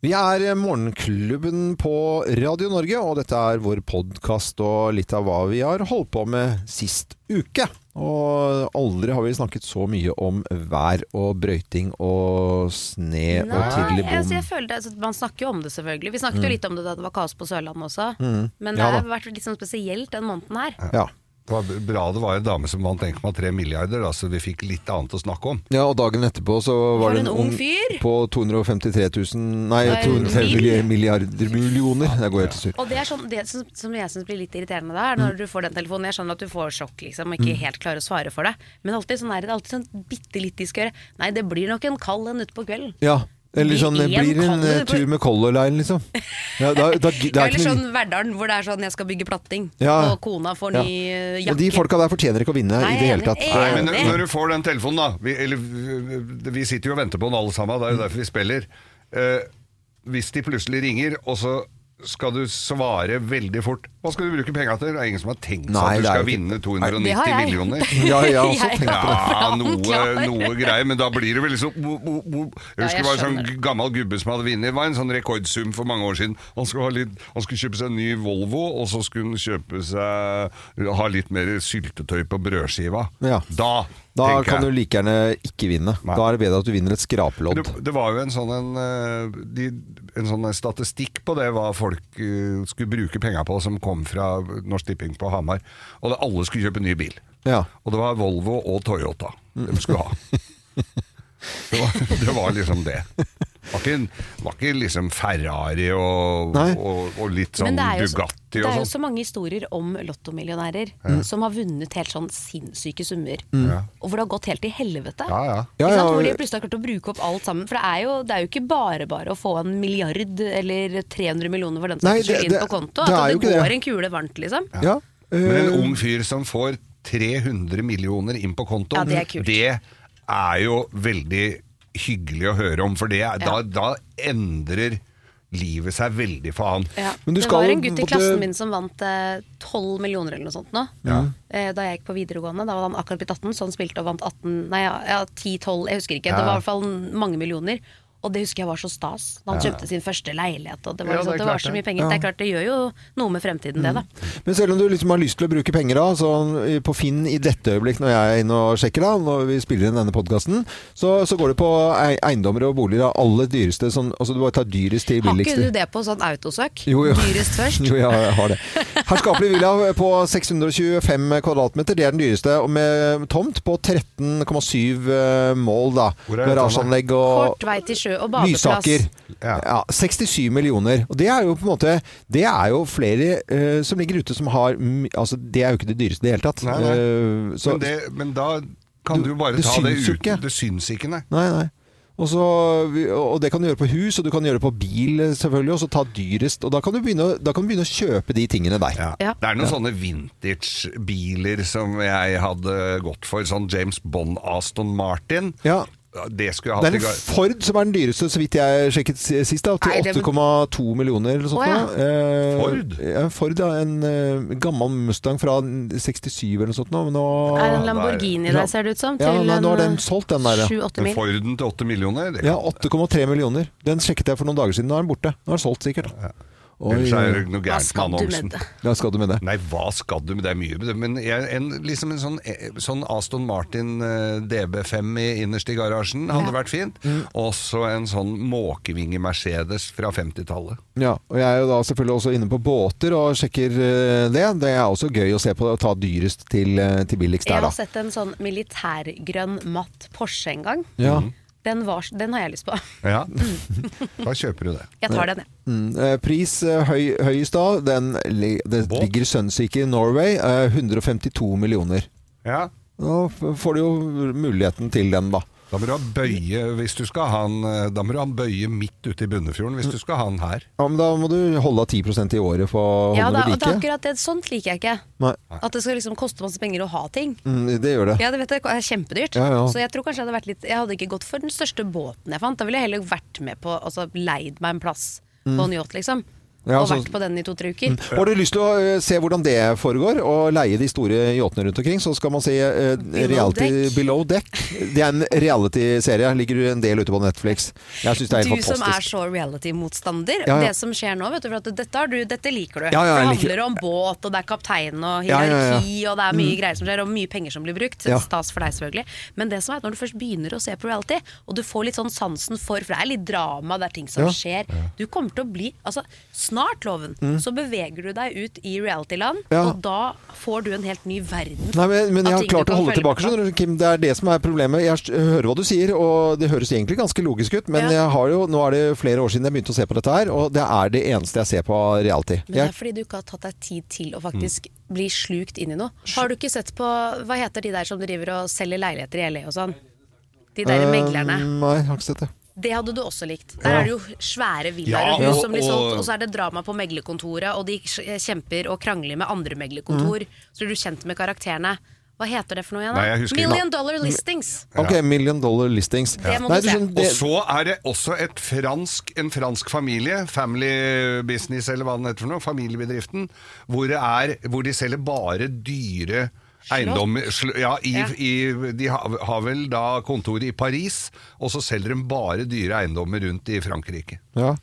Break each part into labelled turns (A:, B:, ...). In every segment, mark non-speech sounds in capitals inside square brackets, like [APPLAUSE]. A: Vi er Morgenklubben på Radio Norge, og dette er vår podkast og litt av hva vi har holdt på med sist uke. Og aldri har vi snakket så mye om vær og brøyting og sne og tidlig
B: Nei, altså,
A: bom.
B: jeg føler det, altså, Man snakker jo om det, selvfølgelig. Vi snakket jo litt om det da det var kaos på Sørlandet også.
A: Mm.
B: Men det
A: Ja da.
B: har vært litt sånn spesielt den måneden her.
A: Ja.
C: Det var bra det var en dame som vant 1,3 milliarder, da, så vi fikk litt annet å snakke om.
A: ja, og dagen etterpå så var det en ung
B: fyr.
A: på 253 000 Nei,
B: Det er en
A: 250
B: bil.
A: milliarder millioner. Der går jeg til sur.
B: Og det er sånn, det som, som jeg syns blir litt irriterende da,
A: Mm.
B: er når du får den telefonen. Jeg skjønner at du får sjokk liksom, og ikke helt klarer å svare for det. Men alltid sånn er det alltid sånn bitte litt de skal gjøre. Nei, det blir nok en kald en utpå kvelden.
A: Ja. Eller
B: Blir
A: sånn det
B: en
A: blir en
B: kaller
A: eh,
B: på-
A: tur med Color Line, liksom. Ja, da, da, det er
B: Eller
A: ikke noe
B: sånn Verdalen hvor det er sånn jeg skal bygge platting,
A: Ja.
B: og kona får
A: Ja.
B: ny eh,
A: Og de
B: jakke.
A: folka der fortjener ikke å vinne
B: Nei,
A: i det
B: jeg er
A: hele tatt.
B: enig.
C: Nei, men
B: Enig.
C: når, når du får den telefonen, da vi, Eller øh, vi sitter jo og venter på den alle sammen, det er jo derfor vi spiller. Eh, hvis de plutselig ringer, og så skal du svare veldig fort Hva skal du bruke penga til? Det er ingen som har tenkt seg
A: Nei,
C: at
A: det
C: du
A: er
C: skal
A: jo ikke-
C: vinne
B: Det har
C: 290
B: jeg. [LAUGHS]
C: millioner.
A: Ja, jeg har også
B: Jeg
A: tenkt på det.
C: Ja,
B: planen
C: noe,
B: klar.
C: noe greier, men da blir det vel liksom bo, bo, bo. Jeg
B: Ja,
C: husker
B: jeg
C: det var en
B: skjønner.
C: sånn gammel gubbe som hadde vunnet. Det var en sånn rekordsum for mange år siden. Han skulle, ha litt, han skulle kjøpe seg en ny Volvo, og så skulle han kjøpe seg ha litt mer syltetøy på brødskiva.
A: Ja.
C: Da,
A: Da
C: tenker
A: kan du
C: jeg.
A: like gjerne ikke vinne.
C: Nei.
A: Da er det bedre at du vinner et skrapelodd.
C: Det, det var jo en sånn, en, eh, de, en sånn statistikk på det, hva folk eh, skulle bruke penga på, som kom fra Norsk Tipping på Hamar. Og det, alle skulle kjøpe ny bil.
A: Ja.
C: Og det var Volvo og Toyota de skulle ha. Det var, [LAUGHS] det var liksom det. Det var ikke, en- var ikke liksom Ferrari og,
A: Nei.
C: og, og litt sånn
B: Men det er jo så-
C: Bugatti
B: Det er
C: og
B: jo
C: sånn.
B: så mange historier om lottomillionærer som har vunnet helt sånn sinnssyke summer.
A: Mm.
C: Ja.
B: Og hvor det har gått helt til helvete.
C: Ja, ja.
A: Ja,
B: Ikke sant?
A: ja,
B: Hvor de plutselig har klart å bruke opp alt sammen. For det er jo, det er jo ikke bare bare å få en milliard eller 300 millioner for den som
A: Nei,
B: skal
A: det-
B: inn
A: det-
B: på konto.
A: det
B: At
A: er
B: det,
A: jo ikke
B: går
A: det.
B: en kule varmt, liksom.
A: ja.
C: Men en
A: eh,
C: ung fyr som får 300 millioner inn på kontoen,
B: Ja, det er kult.
C: det er jo veldig hyggelig å høre om, for det, er- da, da endrer livet seg veldig for han.
B: Ja.
A: Men du
B: det
A: skal
B: var
A: jo
B: en gutt i
A: måtte-
B: klassen min som vant eh, 12 millioner eller noe sånt nå.
C: Ja.
A: Mm.
B: Eh, Da jeg gikk på videregående, da var han akkurat blitt 18, så han spilte og vant 18 Nei, ja, ja, 10-12, jeg husker ikke.
C: Ja.
B: Det var i hvert fall mange millioner. Og det husker jeg var så stas. Da han kjøpte sin første leilighet, og det var,
C: Ja,
B: liksom-
C: det er
B: det
C: klart
B: var så
C: det.
B: mye penger. Det er klart, det gjør jo noe med fremtiden,
A: Mm.
B: det, da.
A: Men selv om du liksom har lyst til å bruke penger da, sånn eh, på Finn i dette øyeblikk når jeg er inne og sjekker da, når vi spiller inn denne podkasten, så, så går det på ei- eiendommer og boliger av alle dyreste sånn, Altså du bare tar dyrest til
B: Har ikke du
A: billigste.
B: det på sånn autosøk?
A: Jo, jo.
B: Dyrest
A: [LAUGHS]
B: først?
A: Jo, ja, jeg har det. Herskapelig villa på 625 kvadratmeter, det er den dyreste. Og med tomt på 13,7 eh, mål, da.
C: Hvor er dette,
A: Garasjeanlegg og
B: Kort vei til sjø og badeplass.
A: Lysaker.
C: Ja.
A: Ja, 67 millioner. Og det er jo på en måte Det er jo flere eh, som ligger ute som har mm, Altså, det er jo ikke det dyreste i det hele tatt.
C: Nei, nei.
A: Eh, så,
C: men, det, men da kan
A: Du-
C: du, jo bare
A: det
C: ta det
A: syns jo ikke.
C: uten Det syns ikke, nei.
A: nei, nei. Og, så, og det kan du gjøre på hus, og du kan gjøre det på bil, eh, selvfølgelig, og så ta dyrest. Og da kan du begynne, å- da kan du begynne å kjøpe de tingene der.
C: Ja.
B: Ja.
C: Det er noen sånne vintage-biler som jeg hadde gått for. Sånn James Bond Aston Martin.
A: Ja.
C: Det skulle jeg hatt
A: Det er
C: i
A: en
C: gar...
A: Ford som er den dyreste, så vidt jeg sjekket si- sist, da,
B: Nei,
A: til
B: det-
A: 8,2 millioner eller sånt.
B: Å, ja.
A: nå. Eh,
C: Ford?
A: Ja, Ford, ja. En eh, gammel Mustang fra 67 eller noe sånt. nå, Men nå
B: Er en Lamborghini der, ser det ut som?
A: Ja,
B: til
A: nei, nå har
B: en,
A: den solgt, den der, ja.
B: 7-8
C: Men
B: mil.
C: Forden til 8 millioner? Det
A: Ja,
C: kan
A: 8,3 millioner. Den sjekket jeg for noen dager siden. Nå er den borte. Nå er den solgt, sikkert. da.
C: Ellers er
A: Oi,
C: det noe
B: Hva
C: gærent med
B: skal du med
C: annonsen.
B: det?
A: ja, skal du med det?
C: Nei, hva skal du med det? er mye med det. Men jeg, en, liksom en sånn, eh, sånn Aston Martin eh, DB5 i, innerst i garasjen hadde vært fint.
A: Mm.
C: Og så en sånn måkevinge Mercedes fra 50-tallet.
A: Ja, og jeg er jo da selvfølgelig også inne på båter og sjekker eh, det. Det er også gøy å se på å ta dyrest til, eh, til billigst
B: Jeg
A: der,
B: har
A: da.
B: sett en sånn militærgrønn matt Porsche en gang.
A: Ja.
B: Den, var, s- den har jeg lyst
A: [LAUGHS]
B: på.
C: Ja. Da kjøper du det.
B: Jeg tar den, jeg.
A: Mm. Eh, Pris eh, høy, høyest da, den, li- det
C: Båt?
A: ligger Sunseeker Norway, eh, 152 millioner.
C: Ja.
A: Da f- får du jo muligheten til den, da.
C: Da må du ha bøye hvis du skal ha den eh, Da må du ha en bøye midt ute i Bunnefjorden hvis du skal ha den her.
A: Ja, men da må du holde av 10 i året for å
B: Ja, da,
A: holde
B: og
A: den
B: det er
A: ved like.
B: akkurat det, sånt liker jeg ikke.
A: Nei.
B: At det skal liksom koste masse penger å ha ting.
A: Mm, det gjør det.
B: Ja, det vet jeg, det er kjempedyrt.
A: Ja, ja.
B: Så jeg tror kanskje jeg hadde vært litt Jeg hadde ikke gått for den største båten jeg fant. Da ville jeg heller vært med på Altså leid meg en plass på en yacht, liksom.
A: Mm. Ja,
B: og
A: så-
B: vært på den i to-tre uker.
A: Har du lyst til å eh, se hvordan det foregår, og leie de store yachtene rundt omkring, så skal man se eh, reality
B: deck.
A: Below Deck. Det er en reality-serie. Ligger en del ute på Netflix. Jeg syns det er
B: Du
A: helt
B: som er
A: fantastisk.
B: så reality-motstander.
A: Ja, ja.
B: Det som skjer nå, vet du, for at dette, har du, dette liker du.
A: Ja, ja,
B: for det
A: jeg liker-
B: handler om båt, og det er kaptein og
A: Ja, ja, ja.
B: hierarki, og det er mye greier som skjer, og mye penger som blir brukt.
A: Ja.
B: Stas for deg, selvfølgelig. Men det som er at når du først begynner å se på reality, og du får litt sånn sansen for For det er litt drama, det er ting som
A: Ja.
B: skjer. Du kommer til å bli Altså, snart, Loven, så beveger du deg ut i reality-land,
A: Mm. Ja.
B: og da får du en helt ny verden.
A: Nei, men, men jeg
B: Av
A: har
B: ting
A: klart
B: du kan
A: å holde
B: følge med
A: tilbake,
B: på.
A: skjønner du, Kim. Det er det som er problemet. Jeg s- hører hva du sier, og det høres egentlig ganske logisk ut,
B: Ja.
A: men jeg har jo, nå er det flere år siden jeg begynte å se på dette her, og det er det eneste jeg ser på av reality.
B: Men det
A: Jeg,
B: er fordi du ikke har tatt deg tid til å faktisk bli slukt inn i noe. Har du ikke sett på Hva heter de der som driver og selger leiligheter i LA og sånn? De der
A: Eh,
B: meglerne.
A: Nei, jeg har ikke sett det.
B: Det hadde du også likt. Der er det jo svære villaer
C: Ja,
B: og hus
C: og-
B: som blir
C: og-
B: solgt, og så er det drama på meglerkontoret, og de eh, kjemper og krangler med andre meglerkontor. Så blir du kjent med karakterene. Hva heter det for noe igjen? da?
C: Nei, jeg husker ikke.
B: Million Dollar Listings.
A: Ok, Million Dollar Listings.
B: Det må du
A: Nei, du
B: se.
A: skjønner,
C: Og
A: det,
C: så er det også et fransk, en fransk familie, family business eller hva den heter for noe, familiebedriften, hvor, det er, hvor de selger bare dyre eiendommer. sl- Ja, i,
B: Ja.
C: I, de har har vel da kontoret i Paris, og så selger de bare dyre eiendommer rundt i Frankrike.
A: Ja.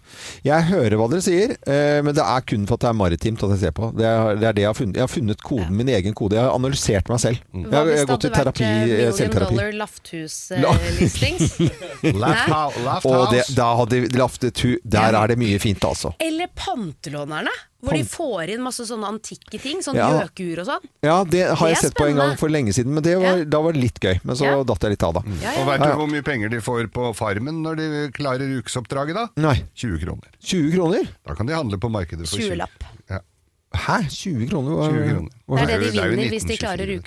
A: Jeg hører hva dere sier, eh, men det er kun for at det er maritimt at jeg ser på. Det er det, er det jeg har funnet. Jeg har funnet koden, min egen kode. Jeg har analysert meg selv. Jeg,
B: Mm. Hva
A: har- jeg
B: hvis
A: har
B: det
A: gått i
B: hadde vært
A: terapi,
B: eh,
A: eh,
B: Million
A: selvterapi.
B: Dollar eh,
A: [LAUGHS]
B: Lafthus-listings?
C: Laugh hou- laugh
A: Og det,
C: house.
A: da hadde vi laftet hu. Der er det mye fint, altså.
B: Eller pantelånerne, hvor de får inn masse sånne antikke ting. Sånn
A: Ja.
B: gjøkur og sånn.
A: Ja, det har
B: Det
A: jeg
B: er
A: sett på en
B: spennende.
A: gang for lenge siden, men det var,
B: Ja.
A: da var det litt gøy. Men så
B: Ja.
A: datt jeg litt av, da.
B: Ja, ja.
C: Og vet du hvor mye penger de får på farmen når de klarer ukesoppdraget da?
A: Nei.
C: 20 kroner.
A: 20 kroner?
C: Da kan de handle på markedet for 20.
B: 20-lapp.
C: Ja.
A: Hæ? 20 kroner? Hva-
C: 20 kroner.
A: Hva-
B: Det er det de
C: Det er jo
B: vinner hvis de
C: 1924.
B: klarer
A: Å ja.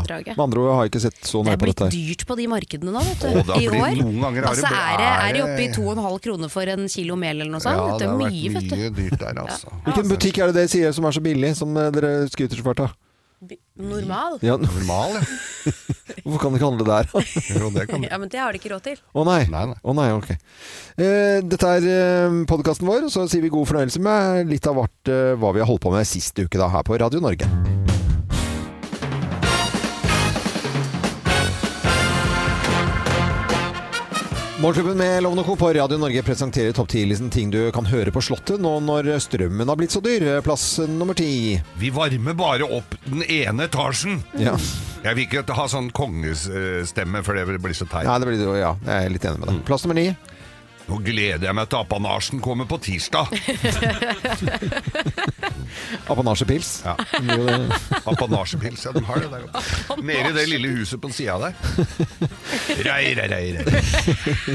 B: ukesoppdraget.
A: Med andre ord jeg har jeg ikke sett så
B: Det
A: nøye
B: er
A: på
B: blitt
A: dette. her.
B: dyrt på de markedene nå, vet du.
C: Å, det har
B: I år.
C: blitt- noen ganger har det
B: altså,
C: blitt-
B: er, det, er de
C: er
B: oppe i
C: det-
B: 2,5 kroner for en kilo mel eller noe sånt?
C: Ja,
B: det er mye,
C: vært
B: vet du.
C: mye dyrt der, altså.
A: Hvilken butikk er det dere sier som er så billig, som eh, dere scootersfarta?
B: Normal? [LAUGHS]
A: Ja,
C: Normal, ja.
A: [LAUGHS] hvorfor kan dere ikke handle der?
C: Jo, det kan
B: Ja, men det har de ikke råd til.
A: Å nei.
C: Nei, nei.
A: Å nei, ok. Eh, dette er eh, podkasten vår, så sier vi god fornøyelse med litt av hvert eh, hva vi har holdt på med sist uke da, her på Radio Norge. Morgenklubben med Loven og Co. på Radio Norge presenterer topp 10-listen ting du kan høre på Slottet nå når strømmen har blitt så dyr. Plass nummer ti.
C: Vi varmer bare opp den ene etasjen.
A: Ja.
C: Jeg vil ikke ha sånn kongestemme, for det blir så teit.
A: Nei, det blir, ja, jeg er litt enig med deg. Plass nummer ni.
C: Nå gleder jeg meg til apanasjen kommer på tirsdag.
A: [LAUGHS] Apanasjepils.
C: Ja.
A: Det blir jo det.
C: Apanasjepils, ja, de har det der oppe. Nede i det lille huset på sida der. Rei, rei, rei, rei.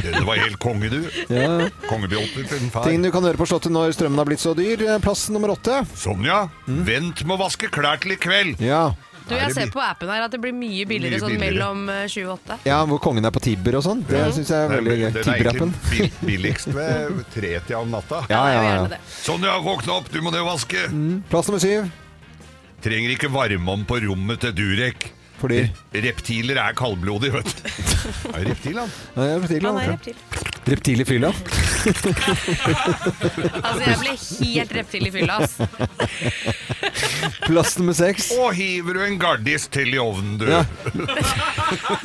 C: Du var helt konge, du.
A: Ja.
C: Kongebjolter til en far.
A: Ting du kan høre på Slottet når strømmen har blitt så dyr. Plass nummer åtte.
C: Sonja, vent med å vaske klær til i kveld.
A: Ja.
B: Du,
C: Er
B: jeg
C: det
B: ser
C: bi-
B: på appen her at det blir mye billigere
C: Mye
B: sånn
C: billigere.
B: mellom eh, 7 og 8.
A: ja, hvor kongen er på Tibber og sånn. Det syns jeg er
C: Nei,
A: veldig
C: men
A: gøy.
C: Den er
A: Tibber-appen.
C: egentlig bill- billigst ved tretida om natta.
A: Ja,
B: det er
A: ja,
B: jo gjerne
A: ja.
B: det.
C: Sonja, våkne opp, du må ned og vaske.
A: Plass nummer syv.
C: Trenger ikke varme om på rommet til Durek.
A: Fordi
C: Reptiler er kaldblodige, vet
A: [LAUGHS]
C: du. Er det reptil, han?
A: Nei, reptil,
B: Han er
A: ja.
B: reptil.
A: Reptil i fylla.
B: [LAUGHS]
A: [LAUGHS]
B: Altså, jeg ble helt reptil i fylla, ass.
A: Plass nummer seks.
C: Og hiver du en gardist til i ovnen, du. [LAUGHS]
A: Ja.
C: Ja,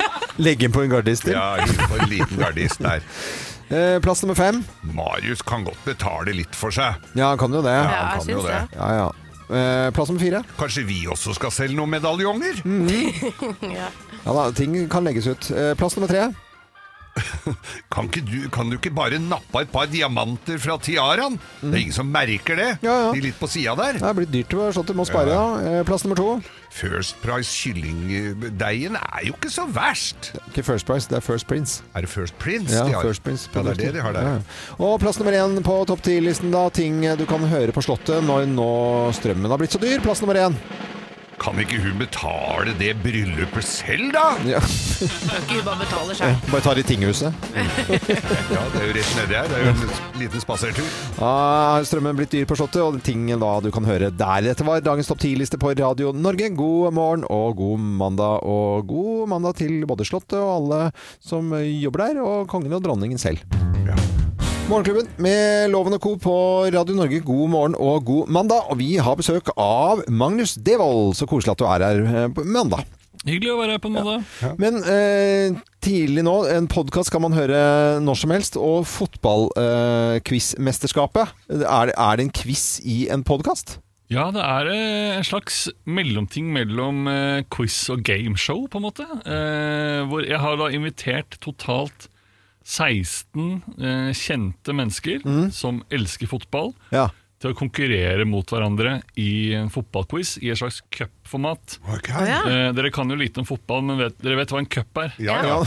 A: Legge inn på en gardist til.
C: hiv på en liten gardist der.
A: [LAUGHS] Eh, Plass nummer fem.
C: Marius kan godt betale litt for seg.
A: Ja, han kan jo det.
B: Ja, jeg
C: kan jo
B: syns det.
C: det.
A: Ja, ja. Eh, Plass nummer fire.
C: Kanskje vi også skal selge noen medaljonger?
A: Mm.
B: [LAUGHS] Ja.
A: Ja da, ting kan legges ut. Eh, Plass nummer tre.
C: Kan, ikke du, kan du ikke bare nappe et par diamanter fra tiaraen? Det er ingen som merker det.
A: Mm. Ja, ja.
C: De litt på sida der.
A: Det er blitt dyrt å være slått, du må spare. da. Eh, Plass nummer to.
C: First Price kyllingdeigen er jo ikke så verst.
A: Ikke First Price, det er First Prince.
C: Er det First Prince
A: Ja,
C: de har?
A: First Prince
C: ja, det er det de har der.
A: Ja. Og plass nummer én på topp ti-listen, da. Ting du kan høre på Slottet når nå strømmen har blitt så dyr. Plass nummer én.
C: Kan ikke hun betale det bryllupet selv, da?
A: Ja.
B: Ikke hun bare betaler sjøl.
A: Eh, Bare ta det i tinghuset.
C: Ja, det er jo rett nedi her. Det er jo en liten spasertur.
A: Da er strømmen blitt dyr på Slottet, og ting da du kan høre der. Dette var dagens topp ti-liste på Radio Norge. God morgen og god mandag. Og god mandag til både Slottet og alle som jobber der, og kongen og dronningen selv.
C: Ja.
A: Morgenklubben med Loven og Co. på Radio Norge, god morgen og god mandag. Og vi har besøk av Magnus Devold. Så koselig at du er her eh, på mandag.
D: Hyggelig å være her på en måte.
A: Men eh, tidlig nå, en podkast kan man høre når som helst. Og fotballquizmesterskapet. er, det- er det en quiz i en podkast?
D: Ja, det er eh, en slags mellomting mellom eh, quiz og gameshow, på en måte. Eh, Hvor jeg har da invitert totalt 16 eh, kjente mennesker som elsker fotball,
A: Ja.
D: til å konkurrere mot hverandre i en fotballquiz i et slags cupformat.
C: Ok.
B: ja.
D: Eh, Dere kan jo lite om fotball, men vet, dere vet hva en cup er. Eh,
C: Ja, ja.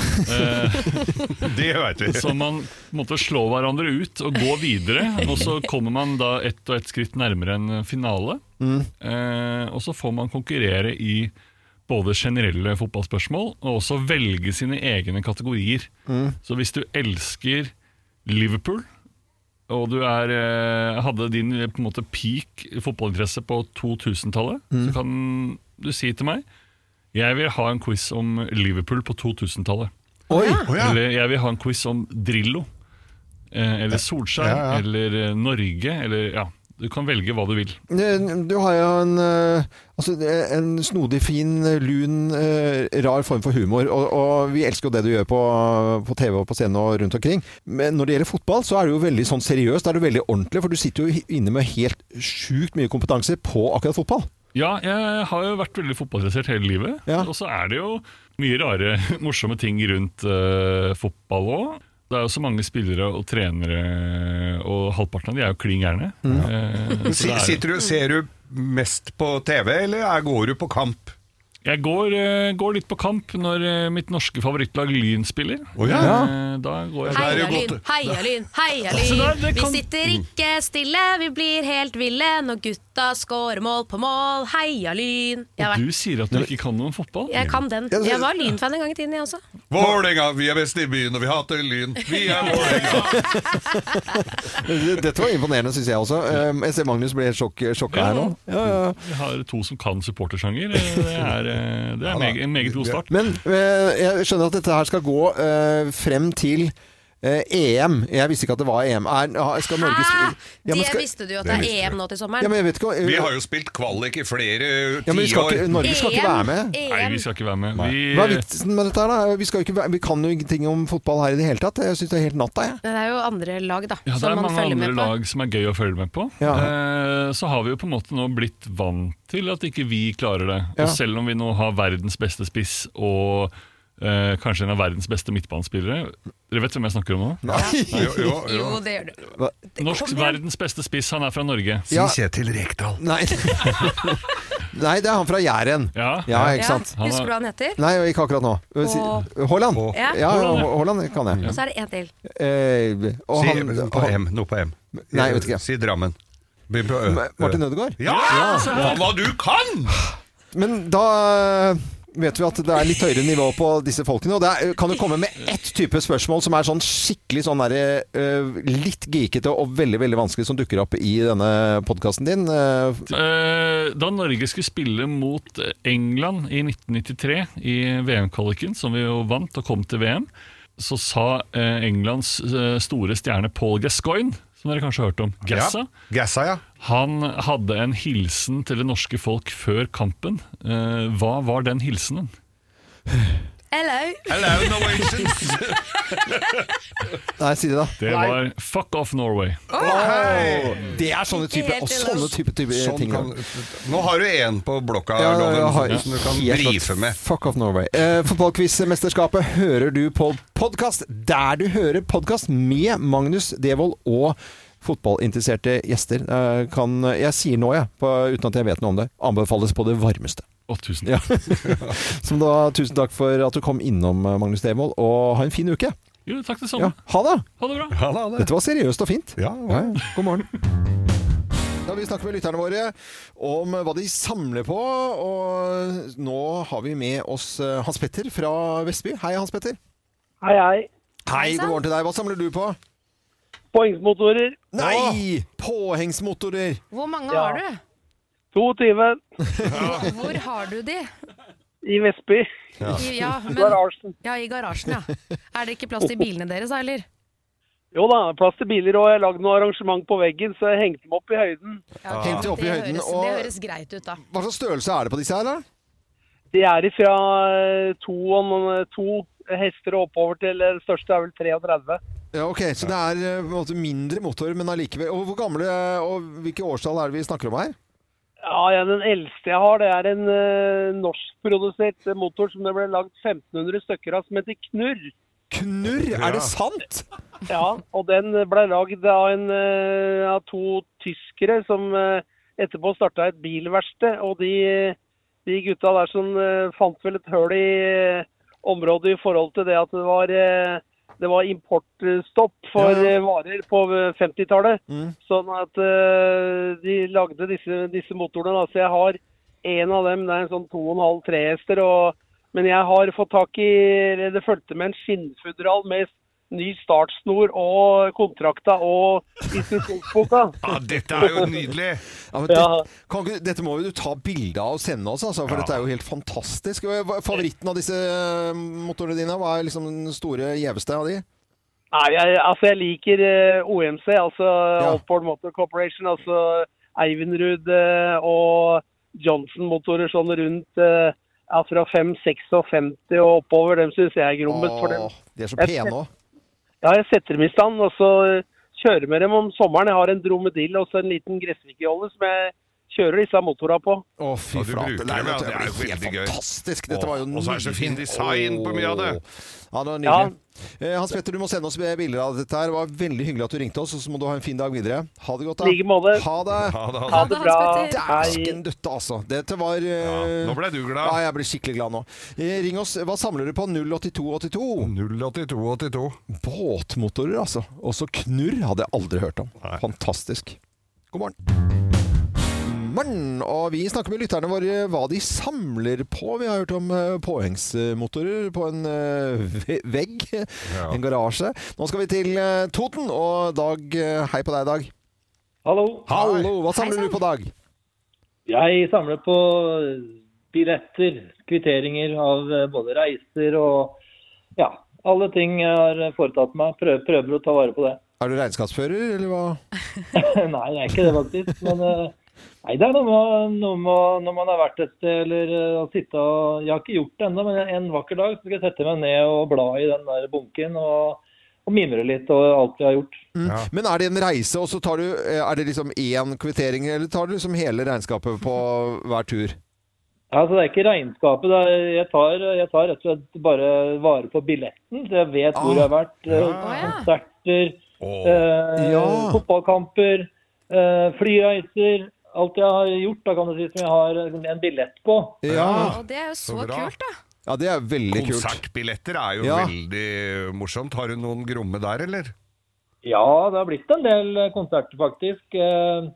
C: [LAUGHS] Det veit vi.
D: Så man måtte slå hverandre ut og gå videre. Og så kommer man da ett og ett skritt nærmere en finale. Eh, og så får man konkurrere i både generelle fotballspørsmål og også velge sine egne kategorier. Så hvis du elsker Liverpool, og du er, eh, hadde din eh, på en måte peak fotballinteresse på 2000-tallet, så kan du si til meg jeg vil ha en quiz om Liverpool på 2000-tallet.
A: Oi!
C: Å ja.
D: Eller jeg vil ha en quiz om Drillo. Eh, eller Solskjær.
C: Ja, ja.
D: Eller eh, Norge. Eller ja, du kan velge hva du vil.
A: Du har jo en, eh, altså, en snodig, fin, lun, eh, rar form for humor. Og, og vi elsker jo det du gjør på, på TV og på scenen og rundt omkring. Men når det gjelder fotball, så er du jo veldig sånn seriøs. Da er du veldig ordentlig, for du sitter jo inne med helt sjukt mye kompetanse på akkurat fotball.
D: Ja, jeg har jo vært veldig fotballinteressert hele livet.
A: Ja.
D: Og så er det jo mye rare, [LAUGHS] morsomme ting rundt eh, fotball òg. Det er jo så mange spillere og trenere, eh, og halvparten av de er jo klin gærne.
A: Mm.
D: Eh, så
C: Si-
D: det er-
C: Sitter du, ser du mest på TV, eller er- går du på kamp?
D: Jeg går, eh, går litt på kamp når eh, mitt norske favorittlag Lyn spiller.
C: Å ja.
D: Eh, Da går jeg
C: Hei.
D: der.
C: det
E: Heia
C: jo
E: lyn,
C: godt.
E: heia lyn, heia
D: Så der,
E: lyn.
D: Altså, det
E: Vi
D: kan-
E: sitter ikke stille, vi blir helt ville når gutta scorer mål på mål. Heia lyn. Jeg,
D: Og
E: vet,
D: du sier at du ikke kan noe om fotball?
E: jeg kan den.
A: Ja, det-
E: Jeg var lynfan en gang i tiden, jeg også.
C: Vålerenga, vi er best i byen, og vi hater Lyn. Vi er Vålerenga!
A: Dette var imponerende, syns jeg også. Eh, Jeg ser Magnus ble helt sjokk, sjokka her nå. Ja, ja.
D: Vi har to som kan supportersjanger. Eh, Det er, eh, det er en meget- en meget god start.
A: Men eh, jeg skjønner at dette her skal gå eh, frem til eh, EM. Jeg visste ikke at det var EM. Er, ja, skal
E: Hæ?
A: Norge spille- Ja, men
E: Det
A: skal-
E: visste du jo at
C: Det
E: det
C: visste
E: er E EM
C: vi.
E: nå til
A: Ja,
E: sommeren.
A: men jeg vet ikke
C: Vi har jo spilt kvalik i flere
A: ja, men vi skal
C: tiår.
A: ikke, Norge skal ikke være med.
D: Nei, vi
E: EM.
D: skal ikke være med. Vi,
A: Hva er vitsen med dette her, da? Vi, skal jo ikke, være- vi kan jo ingenting om fotball her i det hele tatt. Jeg syns det er helt natta, jeg.
B: Men det er jo andre lag, da,
D: ja, det er
B: som man
D: mange
B: følger
D: andre
B: med på.
D: lag som er gøy å følge med på. Eh, så har vi jo på en måte nå blitt vant til at ikke vi klarer det.
A: Ja.
D: Og selv om vi nå har verdens beste spiss og eh, kanskje en av verdens beste midtbanespillere Dere vet hvem jeg snakker om nå?
C: Jo, jo, jo.
E: Jo, det gjør du.
D: Norsk verdens beste spiss, han er fra Norge.
C: Si
A: Ja.
C: Kjetil Rekdal.
A: Nei.
C: [LAUGHS]
A: Nei, det er han fra Jæren.
D: Ja.
A: Ja, ikke
E: Ja.
A: sant.
D: Han
E: Husker
D: er-
E: du hva han heter?
A: Nei, ikke akkurat nå.
E: Å.
A: Haaland.
C: Å.
A: Ja,
E: Ja.
A: Haaland, Haaland kan jeg.
E: Og så er det en til.
A: Eh, og
C: Si
A: han,
C: noe på E M. Noe på M.
A: Nei, jeg vet ikke.
C: Si Drammen. Begynn på Ø.
A: Martin Ødegaard?
C: Ja! Faen hva du kan!
A: Men da eh, vet vi at det er litt høyere nivå på disse folkene. Og det er, kan du komme med ett type spørsmål som er sånn skikkelig sånn der, eh, litt geekete og veldig veldig vanskelig, som dukker opp i denne podkasten din? eh,
D: Eh, Da Norge skulle spille mot England i 1993 i VM-kvaliken, som vi jo vant og kom til VM, så sa eh, Englands eh, store stjerne Paul Gascoigne, som dere kanskje har hørt om, Gassa,
C: Ja. Gassa, ja.
D: han hadde en hilsen til det norske folk før kampen. Eh, Hva var den hilsenen?
E: Hello.
C: Hello,
E: [LAUGHS]
C: Norwegians!
A: Nei, si det, da.
D: Det var 'fuck off Norway'.
A: Åh, det er sånne type,
E: Helt
A: og sånne type, type
C: Sånn
A: ting.
C: kan,
A: da.
C: nå har du én på blokka,
A: Ja,
C: Loven,
A: jeg har
C: som du kan
A: helt
C: brife
A: klart.
C: med.
A: Fuck off Norway. Eh, Fotballquiz-mesterskapet hører du på podkast der du hører podkast med Magnus Devold og fotballinteresserte gjester. Eh, kan, jeg sier nå, jeg, på, uten at jeg vet noe om det, anbefales på det varmeste.
D: Å, tusen
A: Ja. [LAUGHS] Som da, tusen takk for at du kom innom, eh, Magnus Devold, og ha en fin uke.
D: Jo, takk det
A: Ja,
D: samme.
A: ha det!
D: Ha det bra.
C: Ja, da, det.
A: Dette var seriøst og fint.
C: Ja,
A: Ja, ja. God morgen. Da Vi snakker med lytterne våre om hva de samler på. Og nå har vi med oss eh, Hans Petter fra Vestby. Hei, Hans Petter.
F: Hei, hei.
A: Hei,
E: sann.
A: god morgen til deg. Hva samler du på?
F: Poengsmotorer.
A: Nei! Påhengsmotorer.
B: Hvor mange
F: Ja.
B: har du?
F: 22
G: [LAUGHS]
B: Hvor har du de?
F: i Vestby.
B: I, ja, men,
F: Garasjen.
B: ja, i garasjen, ja. Er det ikke plass til bilene deres, da, eller?
G: Jo da, plass til biler, og jeg lagde noe arrangement på veggen, så jeg hengte dem opp i høyden.
H: Ja,
A: Hengte opp i
H: det
A: høyden,
H: høres,
A: og-
H: Det høres greit ut, da.
A: Hva slags størrelse er det på disse her? da?
G: De er ifra eh, to, og- to hester og oppover til eh, det største er vel 33.
A: Ja, ok, Så det er eh, på en måte mindre motor, men allikevel Og hvor gamle og hvilke årstall er det vi snakker om her?
G: Ja, ja, den eldste jeg har, det er en eh, norskprodusert motor som det ble lagd 1500 stykker av, som heter Knurr.
A: Knurr!
C: Ja.
A: Er det sant?!
G: [LAUGHS] Ja, og den ble lagd av, en, eh, av to tyskere som eh, etterpå starta et bilverksted. Og de, de gutta der som eh, fant vel et høl i eh, området i forhold til det at det var, eh, det var importstopp for
A: Ja, ja.
G: eh, varer på eh, 50-tallet.
A: Mm.
G: Sånn at eh, de lagde disse, disse motorene. Da. Så jeg har en av dem, det er en sånn 2,5-3 hester. og men jeg har fått tak i eller Det fulgte med en skinnfudral med ny startsnor og kontrakta og instruksjonsboka.
C: Ja, dette er jo nydelig!
A: Ja, men
G: Ja.
A: det, kan ikke, dette må jo du ta bilde av og sende oss, altså, for dette er jo helt fantastisk. Og hva- Favoritten av disse eh, motorene dine, hva er liksom den store, gjeveste av de?
G: Nei, jeg, altså jeg liker eh, OMC, altså
A: Ja.
G: Allport Motor Corporation, altså Eivinrud eh, og Johnson-motorer sånn rundt eh, ja, fra 5,56 og oppover. Dem syns jeg er grummet. for dem.
A: Åh, de er så
G: Jeg-
A: pene òg.
G: Ja, jeg setter dem i stand, og så kjører med dem om sommeren. Jeg har en dromedill og så en liten gressvikjolle som jeg kjører disse motorene på.
A: Å, fy
C: Ja, du
A: flate.
C: bruker
A: Nei,
C: dem, ja,
A: vet du,
C: det er
A: blir
C: jo veldig
A: helt
C: gøy.
A: Fantastisk. Dette
C: Åh,
A: var jo
C: og så er det så fin
A: nydelig.
C: design på mye av det.
A: Åh. Ja, det var nydelig. Eh, Hans Petter, du må sende oss bilder av dette her. Det var veldig hyggelig at du ringte oss, og så må du ha en fin dag videre. Ha det godt, da.
G: I like måte.
A: Ha det.
C: Ja, da,
G: Ha det bra.
B: Hans Petter.
A: Dæsken døtte, altså. Dette var eh,
C: Ja, nå ble du glad.
A: Ja, jeg ble skikkelig glad nå. Eh, Ring oss. Hva samler du på? 08282?
C: 08282.
A: Båtmotorer, altså. Også knurr hadde jeg aldri hørt om. Fantastisk. God morgen. Morgen, og Vi snakker med lytterne våre hva de samler på. Vi har hørt om eh, påhengsmotorer på en eh, ve- vegg, en garasje. Nå skal vi til eh, Toten, og Dag eh, Hei på deg, Dag.
I: Hallo.
A: Hallo! Hva samler du på, Dag?
I: Jeg samler på billetter, kvitteringer av eh, både reiser og ja, alle ting jeg har foretatt meg. Prøver, prøver å ta vare på det. [LAUGHS]
A: Er du regnskapsfører, eller hva?
I: nei, jeg er ikke det faktisk. Men eh, nei, det er noe med, noe med når man har vært et sted eller eh, å sitte og Jeg har ikke gjort det ennå, men en vakker dag så skal jeg sette meg ned og bla i den der bunken og, og mimre litt over alt vi har gjort.
A: Men er det en reise, og så tar du eh, Er det liksom én kvittering, eller tar du liksom hele regnskapet på hver tur?
I: Ja, altså Det er ikke regnskapet. Det er, jeg, tar, jeg tar rett og slett bare vare på billetten. Så jeg vet hvor jeg har vært. eh, Konserter, eh,
A: Ja.
I: fotballkamper, eh, flyreiser. Alt jeg har gjort, da kan du si som jeg har eh, en billett på.
A: Ja,
B: Og det er jo så,
C: Så bra.
B: kult, da.
A: ja det er veldig kult.
C: Konsertbilletter er jo
A: Ja.
C: veldig morsomt. Har du noen gromme der, eller?
I: Ja, det har blitt en del eh, konserter, faktisk. Eh,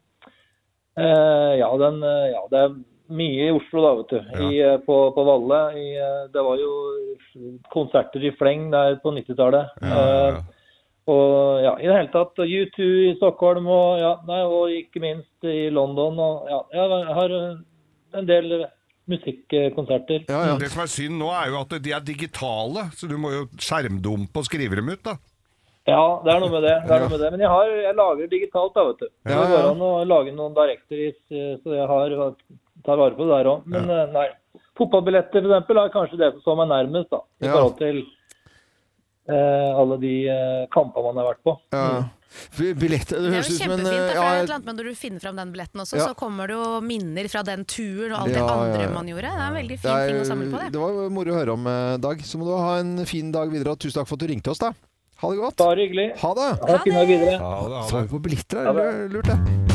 I: eh, ja, den, eh, ja, det er mye i Oslo, da, vet du. I, eh, på, på Valle. I, eh, det var jo konserter i fleng der på 90-tallet.
C: ja, ja.
I: Eh, og ja, i det hele tatt. og U2 i Stockholm og, ja, nei, og ikke minst i London. Og, ja, jeg har eh, en del musikkonserter.
A: Ja, ja.
C: Det som er synd nå, er jo at de er digitale, så du må jo skjermdumpe og skrive dem ut, da.
I: Ja, det er noe med det. det, er noe med det. Men jeg, har, jeg lager digitalt, da, vet du.
A: Ja,
I: Så Det
A: ja.
I: går an å lage noen directories, eh, så jeg har, tar vare på det der òg. Men eh, nei. Fotballbilletter for eksempel, er kanskje det som står meg nærmest, da. I
A: Ja.
I: forhold til eh, alle de eh, kampene man har vært på.
A: Ja. Billett Det
B: Mm. Det er
A: høres
B: jo
A: ut som en eh,
B: kjempefint. da, for det
A: ja,
B: er jo et eller annet med Når du finner fram den billetten også,
A: Ja.
B: så kommer det jo minner fra den turen og alt det
A: Ja, ja,
B: andre
A: ja.
B: man gjorde. Det er en veldig
A: det,
B: fin
A: er,
B: ting å samle på, det.
A: det var moro å høre om, eh, Dag. Så må du ha en fin dag videre, og tusen takk for at du ringte oss, da. Ha det godt.
I: Bare hyggelig.
A: Ha det!
I: Ha en fin dag videre.
A: Svar på billetter er lu- lurt, det.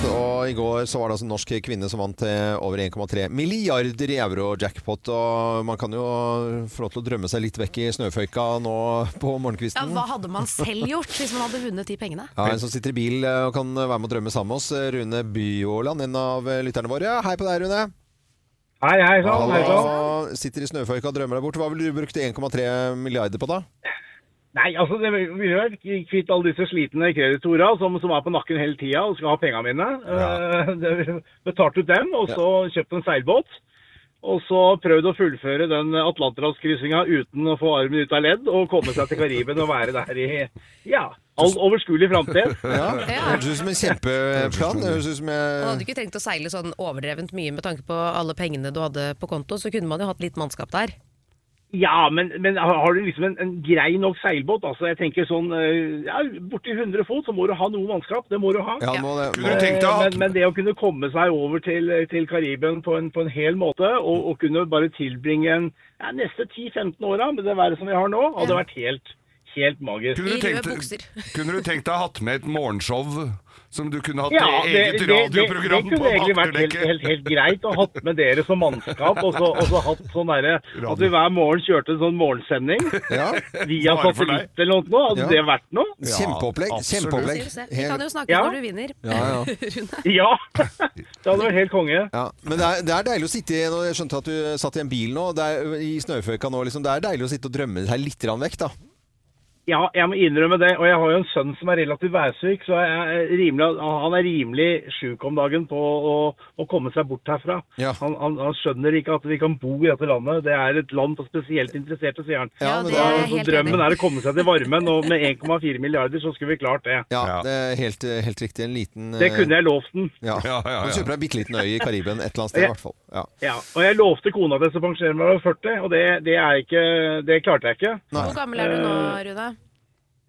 A: Og I går så var det altså en norsk kvinne som vant eh, over 1,3 milliarder i euro-jackpot. Og Man kan jo få lov til å drømme seg litt vekk i snøføyka nå på
B: Ja,
A: morgenkvisten.
B: hva hadde man selv gjort hvis man hadde vunnet de pengene?
A: Ja, En som sitter i bil eh, og kan være med og drømme sammen med oss. eh, Rune Byåland, en av eh, lytterne våre. Hei på deg, Rune.
G: Hei, hei sånn. sann.
A: Og sitter i snøføyka og drømmer deg bort. Hva ville du brukt 1,3 milliarder på da?
G: Nei, altså, det, vi gjør kvitt alle disse slitne kreditorene som, som er på nakken hele tida og skal ha pengene mine.
C: Ja.
G: Eh, det- Betalt ut dem, og så kjøpt en seilbåt.
F: Og så prøvd å fullføre den Atlanterhavskryssinga uten å få armen ut av ledd, og komme seg til Karibien og være der i ja, all overskuelig framtid.
A: Ja, det Høres ut som en kjempeplan. Det Høres ut som
B: Og
A: jeg
B: hadde du ikke trengt å seile sånn overdrevent mye med tanke på alle pengene du hadde på konto, så kunne man jo hatt litt mannskap der.
F: Ja, men, men har du liksom en, en grei nok seilbåt? Altså, jeg tenker sånn eh, ja, Borti 100 fot så må du ha noe mannskap. Det må du ha. Eh,
A: ja, nå, det,
C: Kunne du tenkt deg
F: men,
C: at
F: men det å kunne komme seg over til, eh, til Karibien på en, på en hel måte, og, og kunne bare tilbringe en, ja, neste 10-15 åra med det været som vi har nå, hadde vært helt, helt magisk.
C: kunne du,
B: I røde
C: tenkt,
B: bukser.
C: [LAUGHS] kunne du tenkt deg hatt med et morgenshow som du kunne hatt
F: Ja,
C: i
F: det,
C: eh, eget
F: det, det, det
C: radioprogram
F: kunne egentlig vært helt,
C: akterdekket?
F: helt, helt greit å hatt med dere som mannskap, og så, og så hatt sånn derre At vi hver morgen kjørte en sånn morgensending
A: ja.
F: via
C: Bare for deg.
F: satellitt eller noe sånt. nå.
A: Ja.
F: Hadde det vært noe?
A: Kjempeopplegg.
C: absolutt.
A: kjempeopplegg.
B: Ser du se. Vi kan
A: Helt,
B: jo snakke
F: Ja.
B: når du vinner.
A: ja,
B: [LAUGHS]
A: ja.
F: Ja! [LAUGHS] Det hadde vært helt konge.
A: Ja, men det er, det er deilig å sitte i nå- Jeg skjønte at du satt i en bil nå, det er, i snøføyka nå, liksom. Det er deilig å sitte og drømme seg litt grann vekk, da.
F: Ja, jeg må innrømme det. Og jeg har jo en sønn som er relativt værsyk, så jeg er rimelig, han er rimelig sjuk om dagen på å, å komme seg bort herfra.
A: Ja.
F: Han, han, han skjønner ikke at vi kan bo i dette landet. Det er et land for spesielt interesserte, sier han.
A: Ja,
B: Ja,
A: men
B: det er
A: da-
F: Så,
B: jeg
F: så
B: helt
F: drømmen
B: enig.
F: er å komme seg til varmen, og med 1,4 milliarder så skulle vi klart det.
A: Ja,
C: Ja.
A: det er helt, helt riktig. En liten eh,
F: Det kunne jeg lovt den.
A: Ja.
C: Ja, ja, ja.
A: Du kjøper deg en bitte liten øy i Karibien et eller annet sted, i
F: Ja.
A: hvert fall. Ja.
F: Ja, og jeg lovte kona at jeg skulle pensjonere meg da jeg var 40, og det, det, er ikke, det klarte jeg ikke.
B: Hvor gammel er du nå,
A: Eh,
B: Rune?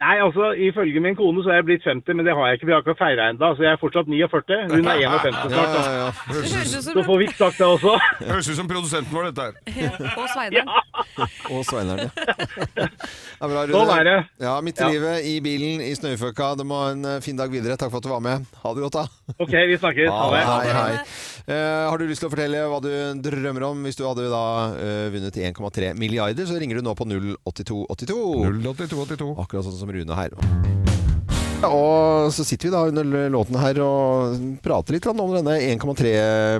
F: Nei, altså, ifølge min kone så er jeg blitt 50, men det har jeg ikke. Vi har ikke feira ennå, så jeg er fortsatt 49. Hun er 51 snart.
A: Ja,
F: da.
A: ja, ja.
B: Det høres ut
F: Så
B: som
F: får vi ikke sagt det også.
C: Høres ut som produsenten vår, dette her.
B: Og Sveineren.
A: Og
F: [LAUGHS]
A: Sveineren, ja. Det er bra, Rune.
F: Sånn er det.
A: Ja, midt i livet, i bilen, i snøføyka. Du må ha en eh, fin dag videre. Takk for at du var med. Ha det godt, da.
F: OK, vi snakkes. Ha det.
A: Hei, hei. Eh, har du lyst til å fortelle hva du drømmer om? Hvis du hadde da eh, vunnet 1,3 milliarder, så ringer du nå på 08282.
C: 08282.
A: Akkurat sånn som Rune her. Og så sitter vi da under låten her og prater litt om denne 1,3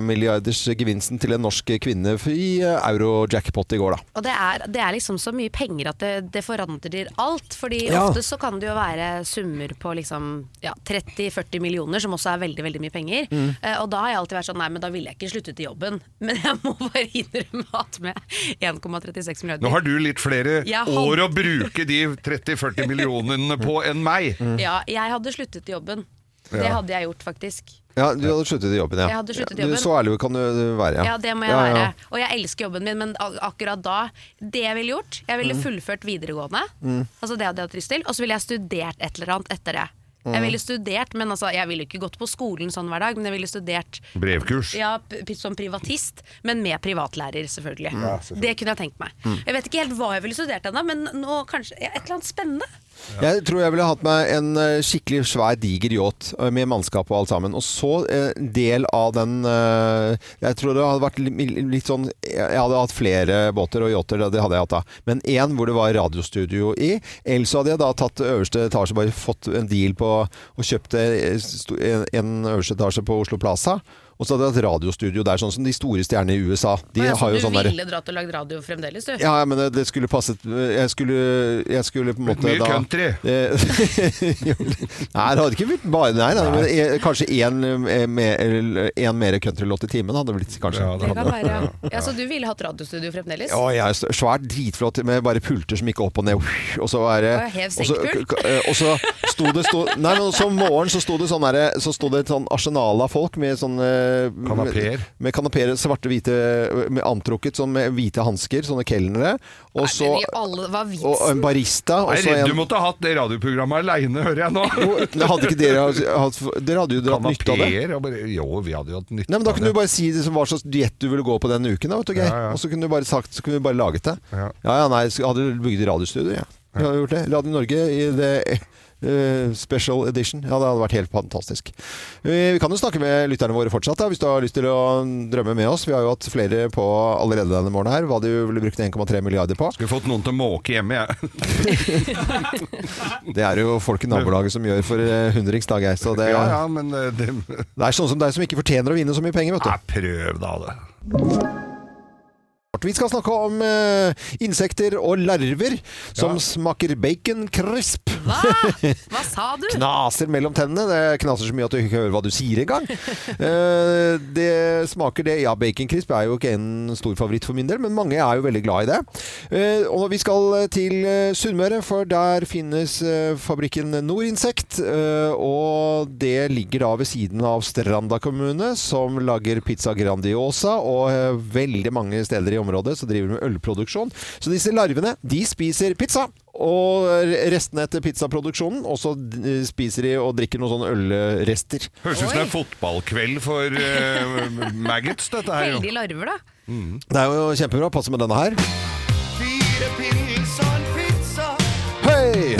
A: milliarders gevinsten til en norsk kvinne i eh, euro-jackpot i går, da.
B: Og det er, det er liksom så mye penger at det, det forandrer alt. Fordi
A: Ja.
B: ofte så kan det jo være summer på liksom ja, 30-40 millioner, som også er veldig veldig mye penger. Eh, og da har jeg alltid vært sånn nei, men da ville jeg ikke sluttet i jobben. [LAUGHS] Men jeg må bare innrømme at med 1,36
C: Nå
B: milliarder
C: har du litt flere
B: Jeg har-
C: år å bruke de 30-40 millionene på enn meg.
B: [LAUGHS] Ja, jeg hadde sluttet i jobben. Det
C: Ja.
B: hadde jeg gjort, faktisk.
A: Ja, du hadde sluttet i jobben, ja.
B: Jeg hadde sluttet i
A: Ja, du-
B: jobben.
A: Så ærlig kan du være, ja.
B: Ja, det må jeg
A: Ja, ja.
B: være. Og jeg elsker jobben min, men ak- akkurat da Det jeg ville gjort Jeg ville fullført videregående,
A: Mm.
B: altså det hadde jeg hatt lyst til, og så ville jeg studert et eller annet etter det. Jeg ville studert, men altså, jeg ville ikke gått på skolen sånn hver dag, men jeg ville studert
C: Brevkurs.
B: ja, p- p- som privatist, men med privatlærer, selvfølgelig. Det kunne jeg tenkt meg.
A: Mm.
B: Jeg vet ikke helt hva jeg ville studert ennå, men nå kanskje ja, et eller annet spennende.
A: Jeg tror jeg ville hatt meg en eh, skikkelig svær, diger yacht eh, med mannskap og alt sammen. Og så eh, del av den eh, Jeg tror det hadde vært li- litt sånn Jeg hadde hatt flere båter og yachter, det hadde jeg hatt da. Men én hvor det var radiostudio i. Eller så hadde jeg da tatt øverste etasje, bare fått en deal på og kjøpt eh, sto- en, en øverste etasje på Oslo Plaza. Og så hadde jeg hatt radiostudio der, sånn som de store stjernene i USA. De
B: Jeg
A: har
B: trodde
A: jo sånn
B: du
A: derre
B: ville dratt og lagd radio fremdeles, du.
A: ja, ja, men det- det skulle passet Jeg skulle, jeg skulle på en måte
C: Mye
A: da
C: country.
A: Eh, [LAUGHS] jo, nei, det hadde ikke blitt bare Nei, nei, men eh, kanskje eh, én mer countrylåt i timen hadde det blitt, kanskje.
C: Ja, det
B: Det kan være. Ja, så du ville hatt radiostudio fremdeles?
A: Å, jeg er så- svært dritflott med bare pulter som gikk opp og ned. Og så er
B: Å, hev
A: det og så,
B: senkpult.
A: k- eh, og så sto det sto, Nei, men så om morgenen så sto det sånn derre Så sto det et sånn arsenal av folk med sånn eh,
C: Kanapeer.
A: Med, med kanapeer, svarte, hvite Med antrukket sånn med hvite hansker, sånne kelnere. Og så
B: Men i alle, hva er
A: og
B: vitsen?
A: en barista. Og
C: Jeg er
A: så
C: redd du
A: en
C: måtte ha hatt det radioprogrammet aleine, hører jeg nå.
A: Men hadde ikke dere
C: [LAUGHS]
A: hatt Dere hadde jo dratt nytte av det.
C: Kanapeer og bare- Jo, vi hadde jo hatt nytte
A: Nei, men Da
C: av
A: kunne
C: det.
A: du bare si det som hva slags diett du ville gå på den uken. Da, vet du, Geir.
C: Ja, ja.
A: Og så kunne du bare sagt Så kunne du bare laget det. Ja
C: Ja.
A: ja, nei, så hadde du bygd radiostudio, ja. Jeg hadde gjort det. Radio Norge i det eh, special edition. Ja, det hadde vært helt fantastisk. Eh, Vi kan jo snakke med lytterne våre fortsatt, da, hvis du har lyst til å drømme med oss. Vi har jo hatt flere på allerede denne morgenen her, hva du ville brukt 1,3 milliarder på.
C: Skulle fått noen til å måke hjemme, jeg.
A: [LAUGHS] Det er jo folk i nabolaget som gjør for eh, hundrings dag, Geir. Så det,
C: Ja, ja, men eh, det
A: [LAUGHS] det er sånne som deg som ikke fortjener å vinne så mye penger, vet du.
C: Nei, prøv da det.
A: Vi skal snakke om eh, insekter og larver som smaker bacon crisp.
B: Hva?
A: [LAUGHS]
B: Hva sa du?
A: Knaser mellom tennene. Det knaser så mye at du ikke hører hva du sier
B: [LAUGHS]
A: engang. Eh, det smaker det. Ja, baconcrisp er jo ikke en stor favoritt for min del, men mange er jo veldig glad i det. Eh, og vi skal til eh, Sunnmøre, for der finnes eh, fabrikken Norinsekt. eh, og det ligger da ved siden av Stranda kommune, som lager pizza Grandiosa, og eh, veldig mange steder i området så driver de med ølproduksjon. Så disse larvene, de spiser pizza. Og restene etter pizzaproduksjonen, og så eh, spiser de og drikker noen sånne ølrester.
C: Høres ut som det er fotballkveld for eh, [LAUGHS] maggots, dette her. jo. Mm.
B: Heldige larver, da.
A: Det er jo kjempebra. Passe med denne her.
J: Fire pils og en pizza,
A: Hei!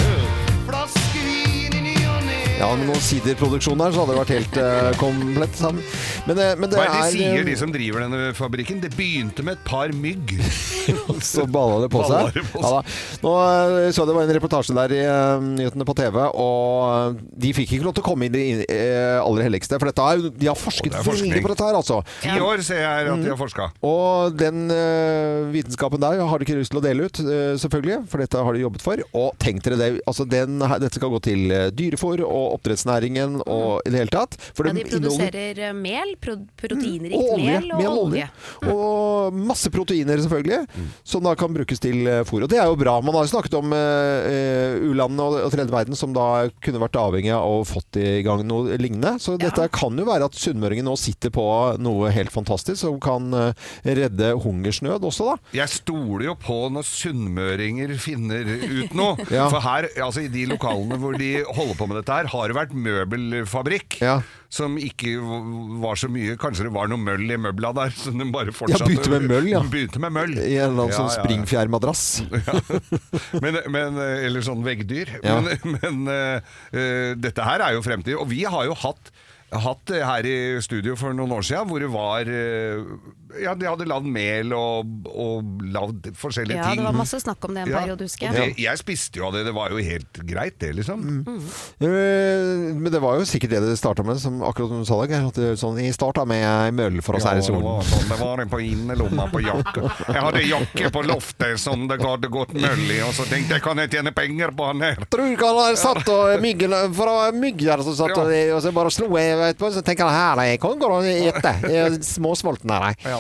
J: flaske vin i ny og ne.
A: Ja, med noen siderproduksjon her, så hadde det vært helt eh, komplett sammen. Men, eh, men det
C: Hva er det de
A: er
C: sier,
A: eh,
C: de som driver denne fabrikken? Det begynte med et par mygg.
A: [LAUGHS] så balla det på
C: Balla
A: seg.
C: det på seg.
A: Ja, da. Nå eh, så jeg det var en reportasje der i eh, nyhetene på TV, og eh, de fikk ikke lov til å komme inn i det eh, aller helligste. For dette er, de har forsket
C: det er forskning.
A: veldig på dette her, altså. Mm.
C: Ti år ser jeg her at de har forska.
A: Og den eh, vitenskapen der har de ikke lyst til å dele ut, eh, selvfølgelig, for dette har de jobbet for. Og tenk dere det, altså den, her- dette skal gå til uh, dyrefôr og oppdrettsnæringen og i det hele tatt. For
B: Ja, de
A: den inneholder-
B: produserer eh, mel, pro proteinrikt
A: og olje. Mm.
B: mel og olje.
A: Og masse proteiner, selvfølgelig, som da kan brukes til eh, fôr. Og det er jo bra. Man har jo snakket om eh, eh, u-landene og, og tredje verden som da kunne vært avhengig av å fått i gang noe lignende. Så dette kan jo være at sunnmøringen nå sitter på noe helt fantastisk som kan eh, redde hungersnød også, da.
C: Jeg stoler jo på når sunnmøringer finner ut noe.
A: [LAUGHS] Ja.
C: For her, altså i de lokalene hvor de holder på med dette her, har det vært møbelfabrikk.
A: Ja.
C: Som ikke var så mye Kanskje det var noe møll i møbla der, så de bare fortsatte.
A: begynte med møll, ja.
C: [LAUGHS] Begynte med møll.
A: I en eller annen
C: Ja,
A: sånn
C: ja, ja.
A: springfjærmadrass.
C: [LAUGHS] men, men, eller sånn veggdyr.
A: Ja.
C: Men, [LAUGHS] men eh, eh, dette her er jo fremtid. Og vi har jo hatt Hatt det her i studio for noen år siden, hvor det var eh, Ja, de hadde lagd mel og, og lagd forskjellige
B: Ja, det
C: ting.
B: var masse snakk om det en
C: Ja.
B: periode, husker
C: Og
B: jeg. Mm.
C: Det, jeg spiste jo av det, det var jo helt greit det, liksom.
A: Eh, Men det var jo sikkert det det starta med, som akkurat som du sa, Dag. at det Sånn, I starta med møll for oss her i
C: Ja, det
A: solen.
C: var sånn, det var en på innerlomma på jakka. Jeg hadde jakke på loftet som det hadde gått møll i, og så tenkte jeg kan jeg tjene penger på han her?
A: tror ikke han har satt og myggen, for det var mygger som satt og, og så bare slo jeg etterpå, så tenker han her, jeg kan gå og ete. Jeg er Småsulten her, jeg.
C: Ja.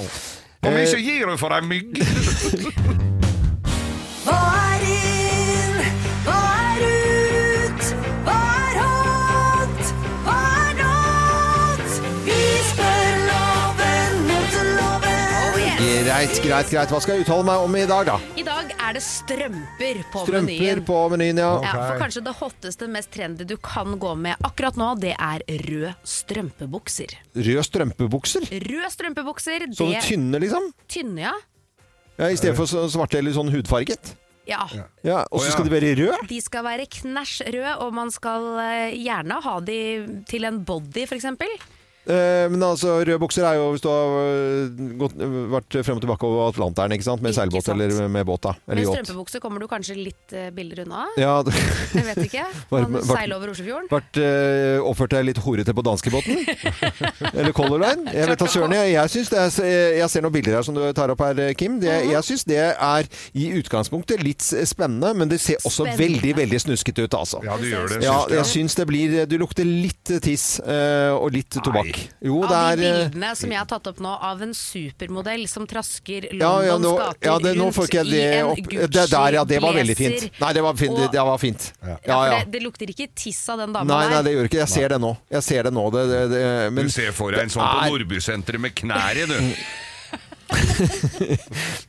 C: Hvor mye
A: Eh,
C: gir du for ei mygg?
J: Hva er inn? Hva er ut? Hva er hot? Hva er not? Vi spør loven mot loven.
B: Oh, yes.
A: Greit, greit, greit. Hva skal jeg uttale meg om i dag, da?
B: I dag er det strømper på
A: Strømper
B: menyen.
A: på menyen, ja.
B: Ja, for kanskje det hotteste, mest trendy du kan gå med akkurat nå, det er rød strømpebukser.
A: Rød strømpebukser.
B: Rød strømpebukser,
A: Sånne
B: det
A: tynne, liksom.
B: tynne, ja.
A: Ja, I stedet for så- svarte eller sånn hudfarget.
B: Ja,
A: Ja, Og
C: Å,
A: så
C: ja.
A: skal de være røde.
B: De skal være knæsj røde, og man skal eh, gjerne ha de til en body, f.eks.
A: Eh, Men altså, røde bukser er jo hvis du har øh, gått, vært frem og tilbake over Atlanteren ikke sant? med
B: Ikke
A: seilbåt
B: sant.
A: eller med båt. da. Eller
B: Med
A: yacht.
B: strømpebukse kommer du kanskje litt eh, billigere unna.
A: Ja,
B: Jeg vet
A: [LAUGHS]
B: ikke.
A: Var-
B: Man
A: var-
B: seiler over Oslofjorden.
A: vært, eh, oppført deg litt horete på
B: [LAUGHS]
A: danskebåten? Eller Color Line? Jeg vet da søren. Jeg, jeg, synes det er, eh, jeg ser noen bilder her som du tar opp her, eh, Kim. Det,
B: Mhm.
A: jeg syns det er i utgangspunktet litt spennende, men det ser også
B: Spennende.
A: veldig, veldig snuskete ut, altså.
C: Ja, du gjør det.
A: Ja,
C: synes
A: jeg syns det blir eh, Du lukter litt tiss eh, og litt tobakk. Jo, det
B: Av
A: er
B: de
A: eh,
B: bildene som jeg har tatt opp nå av en supermodell som trasker Londons
A: ja, ja, nå,
B: gater
A: ja, det, nå får
B: rundt
A: ikke jeg
B: i
A: det
B: en
A: opp.
B: Gucci-blazer.
A: Det der, ja, det var veldig fint. Nei, det var fint.
B: Og-
A: Det var fint. Ja,
B: Ja, for
A: ja.
B: Det, det lukter ikke tiss av den dama
A: Nei, nei,
B: der.
A: det gjør ikke det. Jeg ser det nå. Jeg ser det nå. Det, det, det, [LAUGHS] men
C: Du ser for deg en sånn
A: det
C: på
A: er-
C: Nordbysenteret med knær i, du.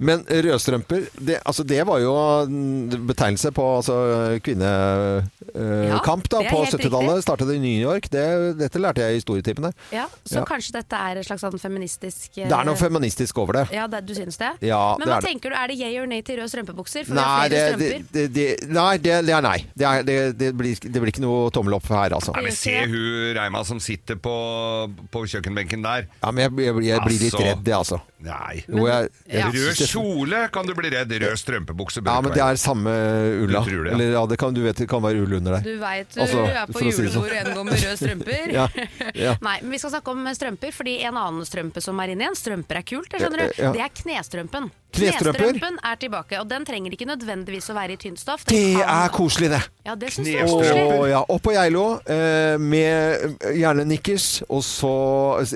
A: Men rødstrømper, det, altså det var jo en betegnelse på altså,
B: Ja,
A: kvinnekamp da,
B: det er
A: på
B: helt
A: 70-tallet.
B: riktig.
A: Startet i New York. Det, dette lærte jeg i historietippene.
B: Ja, så
A: Ja.
B: kanskje dette er et slags sånn feministisk eh,
A: Det er noe feministisk over det.
B: Ja, det, du syns det?
A: Ja,
B: Men
A: det
B: hva
A: er det.
B: tenker du, er det yay or nay til røde strømpebukser? For
A: Nei,
B: det
A: det,
B: er flere
A: det,
B: strømper.
A: det, det- nei, det, det er nei. Det, er, det, det, blir, det blir ikke noe tommel opp her, altså.
C: Nei, men se hun Reima som sitter på, på kjøkkenbenken der.
A: Ja, men jeg, jeg, jeg blir litt
C: Altså.
A: redd, jeg, altså.
C: Nei.
A: Jo, jeg, jeg,
B: Ja.
C: Rød
A: synes det-
C: kjole kan du bli redd. Rød strømpebukse.
A: Ja,
C: bør
A: men
C: ikke
A: det
C: være.
A: er samme ulla.
C: Du tror det, ja.
A: Eller ja, det kan, du vet det kan være ull under der.
B: Du veit du
A: Altså,
B: er på
A: for å si det sånn.
B: julebordet en gang med røde strømper.
A: [LAUGHS] Ja, ja.
B: Nei, men vi skal snakke om strømper, fordi en annen strømpe som er inne igjen Strømper er kult, det skjønner du.
A: Ja, ja.
B: Det er knestrømpen.
A: Knestrømper.
B: Knestrømpen er tilbake, og den trenger ikke nødvendigvis å være i tynnstoff. Den
A: Det
B: kan-
A: er koselig, det.
B: Ja, det synes jeg er
C: Knestrømper.
B: koselig.
A: Å, ja. Opp på Geilo eh, med gjerne nikkers og så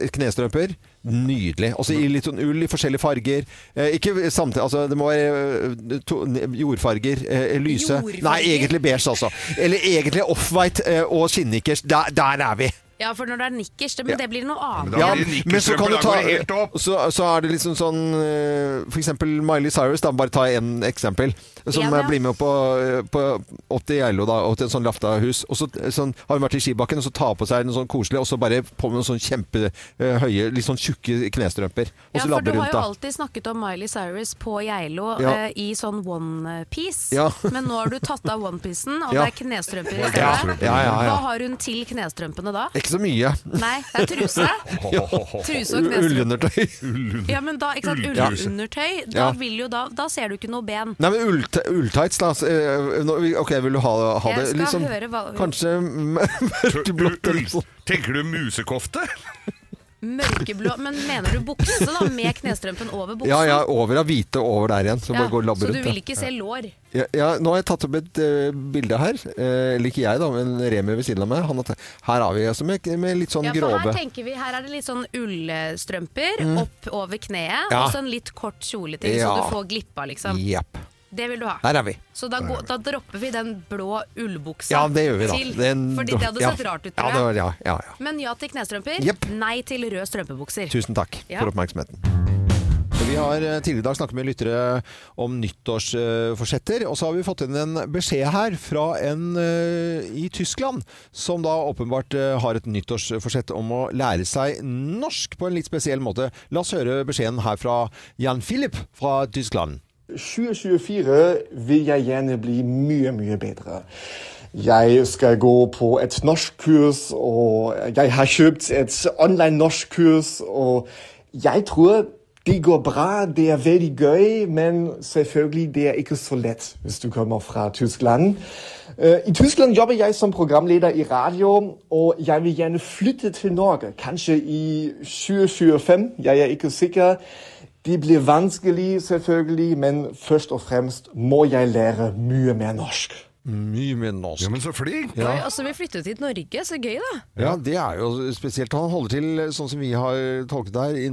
A: eh, knestrømper. Nydelig. Også i litt sånn ull i forskjellige farger. Eh, ikke samtidig altså, Det må være eh, to, jordfarger. Eh, lyse.
B: Jordfarger?
A: Nei, egentlig beige, altså. Eller egentlig offwhite eh, og skinnnikkers. Der, der er vi!
B: Ja, for når det er nikkers, det, men
A: Ja.
B: det blir noe
C: Da
B: annet.
A: Ja,
C: blir det
A: men så kan
C: nikkelstrømper,
A: du
C: da
A: ta
C: går det helt opp.
A: så, så er det liksom sånn eh, For eksempel Miley Cyrus, da bare ta en eksempel. Som
B: Ja, ja.
A: eh, blir med på, eh, på opp til Geilo, da, og til en sånn Laftahus. Og så eh, sånn, har hun vært i skibakken, og så tar på seg noe sånn koselig, og så bare på med noen sånn kjempehøye, litt sånn tjukke knestrømper. Og
B: Ja,
A: så
B: for du
A: labber
B: har
A: rundt,
B: jo
A: da.
B: alltid snakket om Miley Cyrus på Geilo
A: Ja.
B: eh, i sånn onepiece,
A: Ja.
B: men nå har du tatt av onepiecen, og
A: Ja.
B: det er knestrømper i
A: Ja,
B: stedet.
A: ja, ja,
B: Hva
A: ja.
B: har hun til knestrømpene da?
A: Ikke så mye.
B: Nei, det er
A: [LAUGHS]
B: truse. Truse og
A: U-
B: knestrømper.
C: [LAUGHS]
A: Ullundertøy.
B: Ja, men da, ikke sant, ullundertøy, da,
A: Ja.
B: vil jo da, da ser du ikke noe ben.
A: Nei, men ull- ulltights, da. så, eh, nå- OK, vil du ha, ha det
B: Jeg skal
A: litt sånn
B: høre hva-
A: Kanskje mørkeblått eller sånn.
C: Tenker du musekofte?
B: Mørkeblå Men mener du bukse, da? Med knestrømpen over buksen?
A: [LAUGHS] Ja, ja, over av hvite og over der igjen. Så
B: Ja,
A: bare gå og labbe
B: så du
A: rundt.
B: vil
A: da.
B: ikke se lår?
A: Ja, ja, nå har jeg tatt opp et eh, bilde her. Eh, eller ikke jeg, da, men Remi ved siden av meg. Han har tatt, her er vi altså med, med litt sånn
B: Ja, for her
A: grove. Mm.
B: tenker vi, her er det litt sånn ullstrømper opp over kneet,
A: Ja.
B: og så en litt kort kjoleting, så
A: Ja.
B: du får glippa, liksom.
A: Jepp.
B: Det vil du ha.
A: Der er vi.
B: Så da, går, da dropper vi den blå ullbuksa
A: Ja, det gjør vi, da.
B: til,
A: Den-
B: fordi det hadde
A: ja.
B: sett rart ut,
A: Ja,
B: tror jeg.
A: det var, ja, ja, ja.
B: Men ja til knestrømper,
A: Jepp.
B: nei til røde strømpebukser.
A: Tusen takk
B: Ja.
A: for oppmerksomheten. Vi har eh, tidligere i dag snakket med lyttere om nyttårsforsetter, og så har vi fått inn en beskjed her fra en eh, i Tyskland, som da åpenbart eh, har et nyttårsforsett om å lære seg norsk på en litt spesiell måte. La oss høre beskjeden her fra Jan Philip fra Tyskland.
K: 2024 vil jeg gjerne bli mye, mye bedre. Jeg skal gå på et norskkurs, og jeg har kjøpt et online norskkurs, og jeg tror det går bra, det er veldig gøy, men selvfølgelig det er ikke så lett hvis du kommer fra Tyskland. Eh, I Tyskland jobber jeg som programleder i radio, og jeg vil gjerne flytte til Norge, kanskje i 2025, jeg er ikke sikker. Det blir vanskelig, selvfølgelig, men først og fremst må jeg lære mye mer norsk.
A: Mye mer norsk.
C: Ja, men så flink!
B: Oi, Og så vil vi flytte til Norge, så gøy da.
A: Ja, det er jo spesielt. Han holder til, sånn som vi har tolket det her, i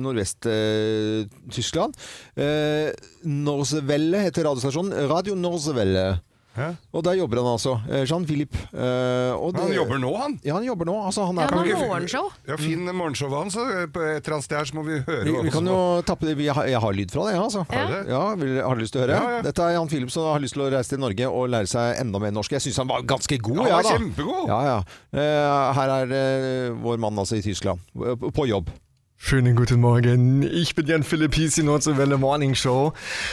A: Nordvest-Tyskland. Eh, Norsevelle heter radiostasjonen. Radio Norsevelle.
C: Hæ?
A: Og der jobber han altså. Eh, Jean-Philippe. Eh, og
C: Han
A: det-
C: jobber nå, han.
A: Ja, han jobber nå. Altså, han er
B: Ja,
A: på
B: nå
C: ikke-
B: morgenshow.
C: Ja, Finn morgenshowet hans, så eh, på et eller annet sted her så må vi høre.
A: Mm. vi,
C: hva
A: vi
C: som-
A: kan jo tappe det. Vi har, jeg har lyd fra det, ja, altså.
C: Har du det?
A: Ja, vil, har du lyst til å høre?
C: Ja, ja.
A: Dette er Jan Philip som har lyst til å reise til Norge og lære seg enda mer norsk. Jeg syns han var ganske god.
C: Ja, han var
A: jeg, da.
C: kjempegod.
A: Ja, ja. Eh, her er eh, vår mann altså i Tyskland. På på jobb.
K: Schönen guten Morgen. Ich bin Jan Philipp, hier ist die Nordseewelle Morning Show.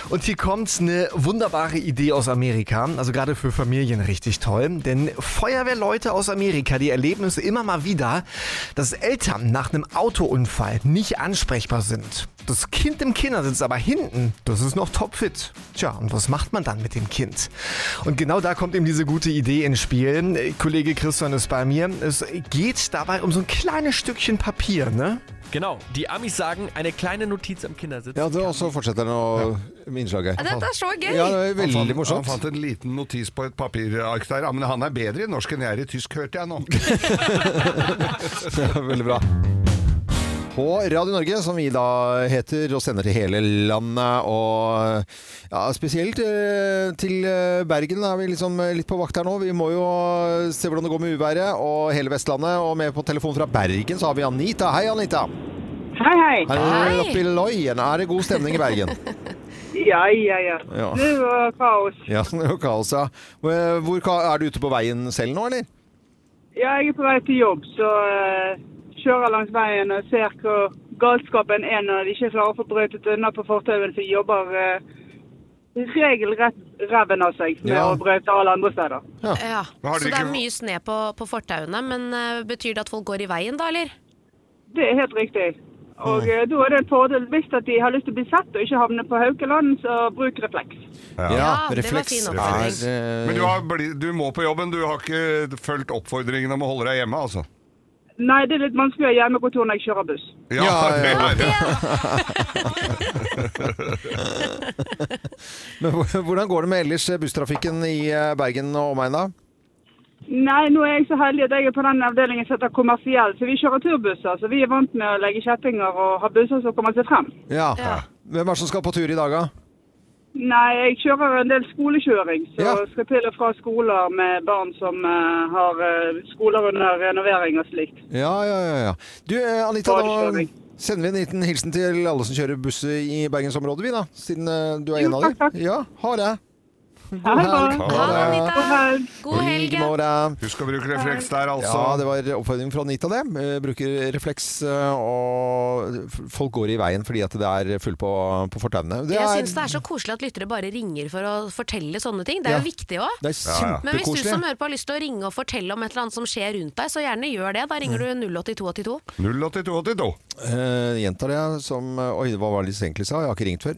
K: Und hier kommt eine wunderbare Idee aus Amerika. Also gerade für Familien richtig toll. Denn Feuerwehrleute aus Amerika, die erleben es immer mal wieder, dass Eltern nach einem Autounfall nicht ansprechbar sind. Das Kind im Kindersitz aber hinten, das ist noch topfit. Tja, und was macht man dann mit dem Kind? Und genau da kommt eben diese gute Idee ins Spiel. Äh, Kollege Christian ist bei mir. Es geht dabei um so ein kleines Stückchen Papier, ne?
L: Genau, die Amis sagen, eine kleine Notiz am Kindersitz.
A: Ja, det, og så [LAUGHS] fortsetter han å, med innslaget.
B: Ja, Dette er så gøy!
A: Ja, det er
C: Han fant-
A: veldig morsomt.
C: Han fant en liten notis på et papirark der. Ja, men han er bedre i norsk enn jeg er i tysk, hørte
A: [LAUGHS]
C: jeg nå.
A: Det er veldig bra. På Radio Norge, som vi da heter, og sender til hele landet. Og ja, spesielt eh, til eh, Bergen er vi liksom eh, litt på vakt her nå. Vi må jo eh, se hvordan det går med uværet og hele Vestlandet. Og med på telefon fra Bergen så har vi Anita. Hei, Anita.
M: Hei, hei.
A: Her
B: Hei.
A: er vi oppe i Løyen. Er det god stemning i Bergen?
M: Ja, ja, ja.
A: Ja.
M: Det var kaos.
A: Ja, det er jo kaos, ja. Eh, Hvor, ka- er du ute på veien selv nå, eller? [LAUGHS]
M: Ja, jeg er på vei til jobb, så eh, kjører langs veien og ser hvor galskapen er når de ikke klarer å få brøytet unna på fortauet, for de jobber eh, regelrett ræven av seg med
A: Ja.
M: å brøyte alle andre steder.
B: Ja. Så
C: har dere
B: det er
C: ikke-
B: mye snø på, på fortauene, men eh, betyr det at folk går i veien da, eller?
M: Det er helt riktig. Og eh, da er det en fordel hvis at de har lyst til å bli sett og ikke havne på Haukeland, så bruk refleks.
B: Ja, det var fin oppfølging.
A: er, eh,
C: Men du, har, bli- du må på jobben, du har ikke fulgt oppfordringen om å holde deg hjemme, altså?
M: Nei, det er litt vanskelig å ha hjemmekontor når jeg kjører buss.
C: Ja, det er det.
A: Men hvor- hvordan går det med ellers eh, busstrafikken i eh, Bergen og omegn da?
M: Nei, nå er jeg så heldig at jeg er på den avdelingen som heter kommersiell, så vi kjører turbusser. Så vi er vant med å legge kjettinger og ha busser som kommer seg frem.
A: Ja.
M: Ja.
A: Hvem er det som skal på tur i dag da?
M: Nei, jeg kjører en del skolekjøring, så
A: Ja.
M: skal til og fra skoler med barn som eh, har eh, skoler under renovering og slikt.
A: Ja, ja, ja. ja. Du, eh, Anita, da sender vi en liten hilsen til alle som kjører buss i Bergensområdet, vi da. Siden eh, du er en av dem. Ja, ha det.
M: Ha det bra.
A: Ha det.
B: God helg.
A: Like måte.
C: [LAUGHS] Husk å bruke refleks der, altså.
A: Ja, det var oppfordring fra Anita, det. Eh, Bruker refleks, eh, og f- folk går i veien fordi at det er fullt på, på fortauene. Det
B: Jeg
A: er
B: syns det er så koselig at lyttere bare ringer for å fortelle sånne ting. Det er
A: Ja.
B: jo viktig òg.
A: Det er Ja, ja.
B: Men hvis du
A: kjempekoselig.
B: som hører på har lyst til å ringe og fortelle om et eller annet som skjer rundt deg, så gjerne gjør det. Da ringer
A: Mm.
B: du 08282.
C: 08282.
A: Eh, gjentar det som eh, Oi, hva var det de egentlig sa? Jeg har ikke ringt før.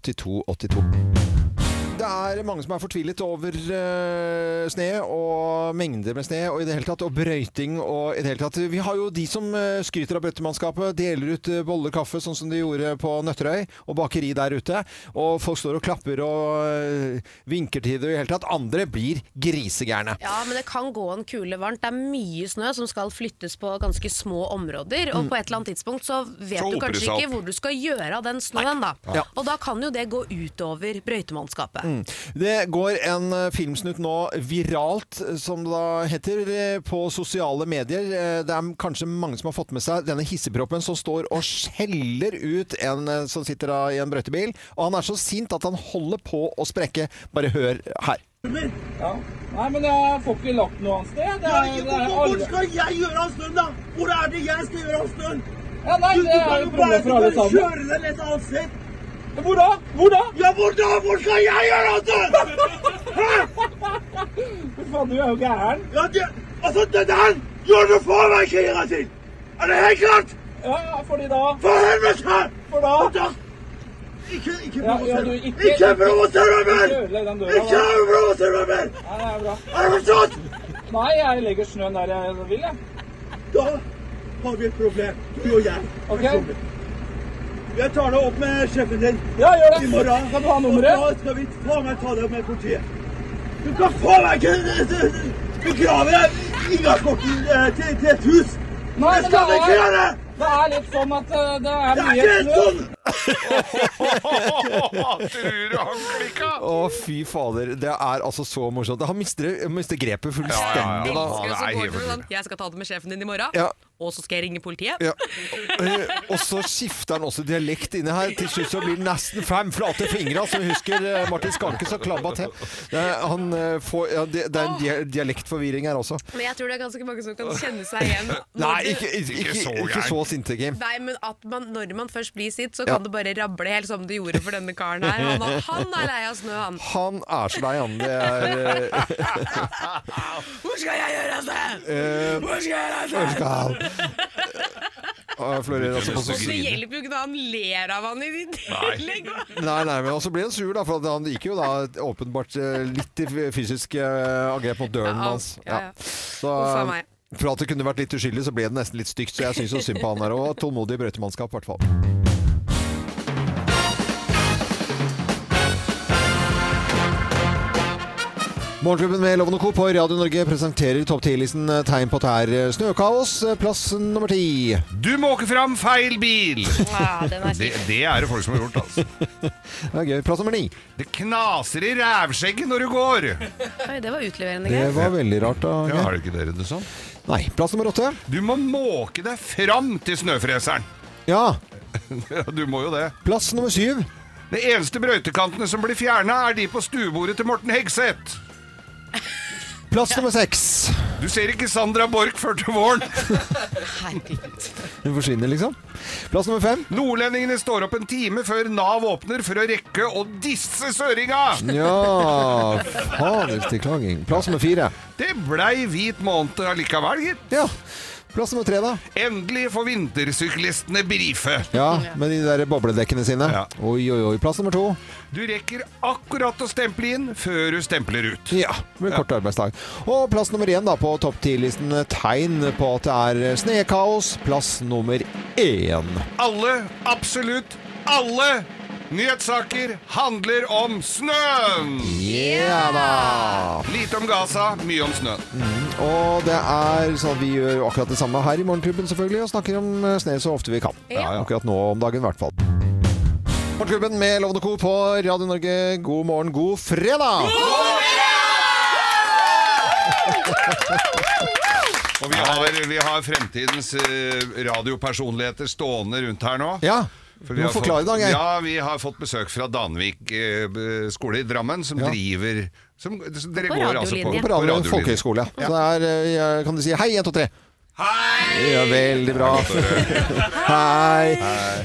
A: 08282. Det er mange som er fortvilet over eh, sne og mengder med sne og i det hele tatt, og brøyting og i det hele tatt. Vi har jo de som eh, skryter av brøytemannskapet, deler ut eh, boller kaffe sånn som de gjorde på Nøtterøy og bakeri der ute. Og folk står og klapper og eh, vinker til det og i det hele tatt. Andre blir grisegærne.
B: Ja, men det kan gå en kule varmt. Det er mye snø som skal flyttes på ganske små områder. Og
A: Mm.
B: på et eller annet tidspunkt så vet
A: Så
B: du
A: hoper det
B: kanskje
A: seg
B: ikke
A: opp.
B: hvor du skal gjøre av den snøen, da.
A: Ja.
B: Og da kan jo det gå utover brøytemannskapet.
A: Mm. Det går en eh, filmsnutt nå viralt, eh, som det da heter, eh, på sosiale medier. Eh, Det er kanskje mange som har fått med seg denne hisseproppen som står og skjeller ut en eh, som sitter da i en brøytebil. Og han er så sint at han holder på å sprekke. Bare hør her.
G: Ja. Nei, men jeg får ikke lagt noe annet sted. Det er, det er
N: Hvor
G: alle...
N: skal jeg gjøre av snøen, da? Hvor er det jeg skal gjøre av snøen?
G: Ja, nei,
N: Du-
G: det er jo
N: Du
G: problemet
N: kan
G: for
N: jo
G: alle
N: bare bare
G: sammen.
N: kjøre den et annet sted.
G: Hvor da? Hvor da?
N: Ja, hvor da? Hvor skal jeg gjøre
G: [LAUGHS]
N: av snøen?
G: Fy faen, du er jo gæren.
N: Ja, det, altså, det der gjør du faen meg ikke en gang til. Er det helt klart?
G: Ja, ja, fordi da...
N: For helvete!
G: For da?
N: Ikke, ikke
G: Ja, ja,
N: provoser
G: du,
N: meg.
G: ikke-
N: Ikke provoser meg
G: ikke
N: mer!
G: ødelegg den døra, da.
N: Ikke provoser meg mer!
G: Nei, det er bra.
N: Er det forstått?
G: Nei, jeg legger snøen der jeg vil, jeg.
N: Da har vi et problem, du og jeg. personlig. Jeg tar det opp med sjefen din.
G: Ja, gjør det.
N: I morgen.
G: Kan du ha nummeret?
N: Og Da skal vi faen meg ta det opp med politiet. Du kan faen meg ikke eh, begrave inngangskorten eh, til, til et hus!
G: Nei,
N: det skal vi ikke gjøre!
G: Det er litt sånn at eh, det er
N: Det er
G: mye
N: ikke sånn-
G: snø.
A: Å, fy fader. Det er altså så morsomt. Han mister, mister grepet
B: Jeg
A: fullstendig. da.
B: elsker det, så går du sånn, Jeg skal ta det med sjefen din i morgen,
A: Ja.
B: og så skal jeg ringe politiet.
A: Ja. Eh, Og så skifter han også dialekt inni her. Til slutt så blir det nesten fem flate fingre, som vi husker eh, Martin Skanke så klabba til. Det er, han, eh, får, ja, det, det er en dia- dialektforvirring her også.
B: Men jeg tror det er ganske mange som kan kjenne seg igjen.
A: Nei, ikke, ikke, ikke, ikke så sinte, Kim.
B: Nei, men at man, når man først blir sitt, så
A: Ja.
B: kan det bare rable helt som det gjorde for denne karen her. Han, var- han er lei av snø, han.
A: Han er så lei, han. Det
B: [LAUGHS]
A: er [LAUGHS]
B: Hvor skal jeg gjøre av det?!
A: eh,
B: Hvor skal jeg reise?
A: hvor skal han? Ah, Florerer altså på
B: Og så
A: sosial-
B: hjelper jo ikke det han ler av han i tillegg.
A: Nei, nei, men også ble han sur, da, for at han gikk jo da åpenbart eh, litt til fysisk eh, angrep mot døren
B: Ja,
A: hans.
B: ja, ja.
A: Så,
B: Uff a meg.
A: for at det kunne vært litt uskyldig, så ble det nesten litt stygt. Så jeg syns jo synd på han her òg. Tålmodig brøytemannskap, i hvert fall. Morgenklubben med Loven og Co. på Radio Norge presenterer topp 10-listen tegn på at det er eh, snøkaos. Plass nummer ti.
C: Du måker fram feil bil!
B: [LAUGHS] Ja, den er
C: det,
B: fin.
C: det er det folk som har gjort, altså.
A: [LAUGHS] Det er gøy. Plass nummer ni.
C: Det knaser i rævskjegget når du går!
B: Oi, det var utleverende
A: Det
B: greier.
A: var veldig rart, da.
C: Ja, har ikke dere det sånn?
A: Nei. Plass nummer åtte.
C: Du må måke deg fram til snøfreseren.
A: Ja.
C: [LAUGHS] Ja, du må jo det.
A: Plass nummer syv.
C: De eneste brøytekantene som blir fjerna, er de på stuebordet til Morten Hegseth.
A: Plass nummer seks.
C: Du ser ikke Sandra Borch før til våren.
A: Hun forsvinner, liksom. Plass nummer fem.
C: Nordlendingene står opp en time før Nav åpner for å rekke å disse søringa!
A: Ja Fader til klaging. Plass nummer fire.
C: Det blei hvit måned allikevel, gitt.
A: Ja. Plass nummer tre, da?
C: Endelig får vintersyklistene brife.
A: Ja, med de der bobledekkene sine. Oi, oi, oi. Plass nummer to.
C: Du rekker akkurat å stemple inn før du stempler ut.
A: Ja, med kort arbeidsdag. Og plass nummer én da på topp ti-listen eh, tegn på at det er snøkaos. Plass nummer én.
C: Alle, absolutt alle nyhetssaker handler om snøen!
A: Yeah, da!
C: Lite om Gaza, mye om snøen.
A: Mm, og det er sånn at vi gjør jo akkurat det samme her i Morgenklubben selvfølgelig, og snakker om eh, snø så ofte vi kan.
C: Ja, ja.
A: Akkurat nå om dagen i hvert fall. Morgenklubben med Lovende Co på Radio Norge. God morgen, god fredag!
C: Og vi har, vi har fremtidens eh, radiopersonligheter stående rundt her nå.
A: Ja,
C: For
A: du må
C: har
A: forklare i dag, jeg.
C: Ja, vi har fått besøk fra Danvik eh, b- skole i Drammen, som driver som, som Dere
A: På
C: går altså på,
A: På Radio
C: radiolinjen.
A: Folkehøgskole. Så det er, eh, kan du si hei, 1, 2, 3. Hei! Ja, veldig bra. Hei.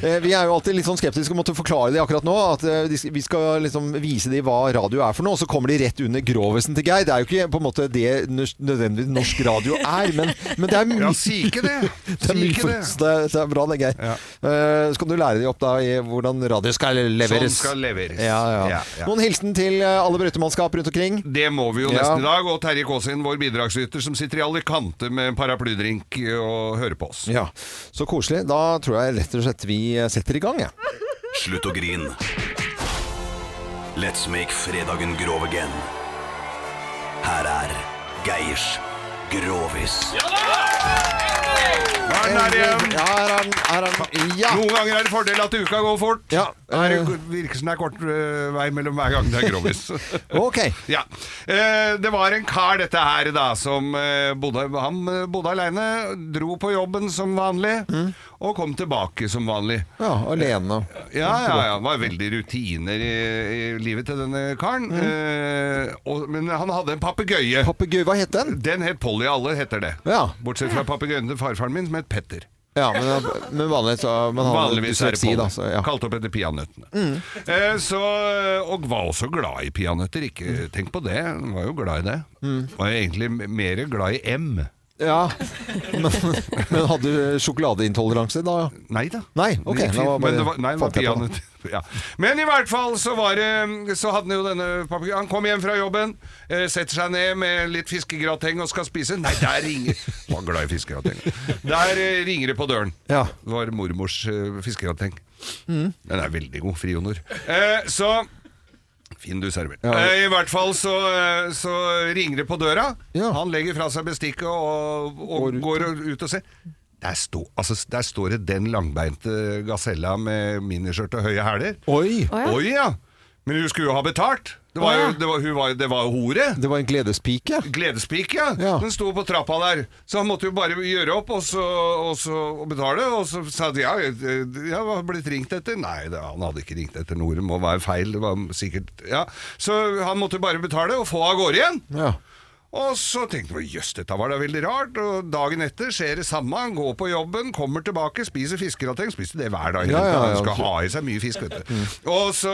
A: Eh, Vi er jo alltid litt sånn skeptiske og måtte forklare det akkurat nå. At eh, de sk- vi skal liksom vise dem hva radio er for noe, og så kommer de rett under grovisen til Geir. Det er jo ikke på en måte det nø- nødvendigvis norsk radio er, men, men det er mye
C: Ja, si ikke det.
A: [LAUGHS] Det er,
C: Si
A: mye
C: ikke
A: for-
C: det.
A: så det, er, det er bra, det, Geir. Eh, så kan du lære dem opp da i hvordan radio skal leveres.
C: Sånn skal leveres.
A: Ja, ja.
C: Ja, ja.
A: Noen hilsen til eh, alle brøytemannskap rundt omkring?
C: Det må vi jo
A: Ja.
C: nesten i dag. Og Terje Kaasin, vår bidragsyter, som sitter i Alicante med en paraplydrink eh, og hører på oss.
A: Ja, så koselig. Da tror jeg rett og slett vi eh, setter i gang, jeg.
O: Slutt å grine. Let's make fredagen grov again. Her er Geirs Grovis.
C: Her er den igjen.
A: Ja.
C: Noen ganger er det fordel at uka går fort. Her
A: eh.
C: virker som det er kort eh, vei mellom hver gang det er grovis.
A: [LAUGHS] ok.
C: [LAUGHS] Ja. Eh, Det var en kar, dette her, da, som eh, bodde, han eh, bodde aleine, dro på jobben som vanlig, og kom tilbake som vanlig.
A: Mm.
C: Eh,
A: Ja, alene.
C: Ja, ja, ja. Det var veldig rutiner i, i livet til denne karen.
A: Mm.
C: Eh, og, men han hadde en papegøye.
A: Papegøye, hva het den?
C: Den het Polly Alle, heter det.
A: Ja.
C: Bortsett fra papegøyen til farfaren min, som het Petter.
A: Ja, men, men vanligvis så- men han hadde
C: Vanligvis er det
A: dysleksi,
C: Polly.
A: da, så, ja.
C: Kalt opp etter peanøttene.
A: Mm.
C: Eh, så, og var også glad i peanøtter. Ikke
A: Mm.
C: tenk på det, han var jo glad i det. Var jo egentlig mer glad i M.
A: Ja, [LAUGHS] men, men hadde du sjokoladeintoleranse da?
C: Nei da.
A: Nei, ok.
C: Det gikk
A: da
C: fint,
A: var bare-
C: men det var, nei, det var
A: fant jeg på
C: peanøtt. [LAUGHS] Ja. Men i hvert fall så var det Så hadde han jo denne papegøyen. Han kom hjem fra jobben, eh, setter seg ned med litt fiskegrateng og skal spise. Nei, der ringer Var glad i fiskegrateng. Der eh, ringer det på døren.
A: Ja.
C: Det var mormors eh, fiskegrateng.
A: Mm.
C: Den er veldig god, Frionor. Eh, så Fin du server.
A: Ja.
C: [LAUGHS] Eh, I hvert fall så, eh, så ringer det på døra. Han legger fra seg bestikket og, og går, ut og ser. Der, sto, altså, der står det den langbeinte gasella med miniskjørt og høye hæler.
A: Oi!
C: ja. Men hun skulle jo ha betalt. Det var jo, det var, hun var, det var jo hore.
A: Det var en gledespike.
C: Gledespike, ja. Den sto på trappa der. Så han måtte jo bare gjøre opp og, så, og, så, og betale. Og så sa de ja, eh, ja, hva har blitt ringt etter? Nei, det, han hadde ikke ringt etter noe. Det må være feil. Det var sikkert, ja. Så han måtte jo bare betale og få av gårde igjen.
A: Ja.
C: Og så tenkte vi jøss, dette var da veldig rart. Og dagen etter skjer det samme. Han går på jobben, kommer tilbake, spiser fiskegrateng. Spiste det hver dag.
A: Ja, ja, ja.
C: Han skal ha i seg mye fisk, vet
A: Mm.
C: du. Og så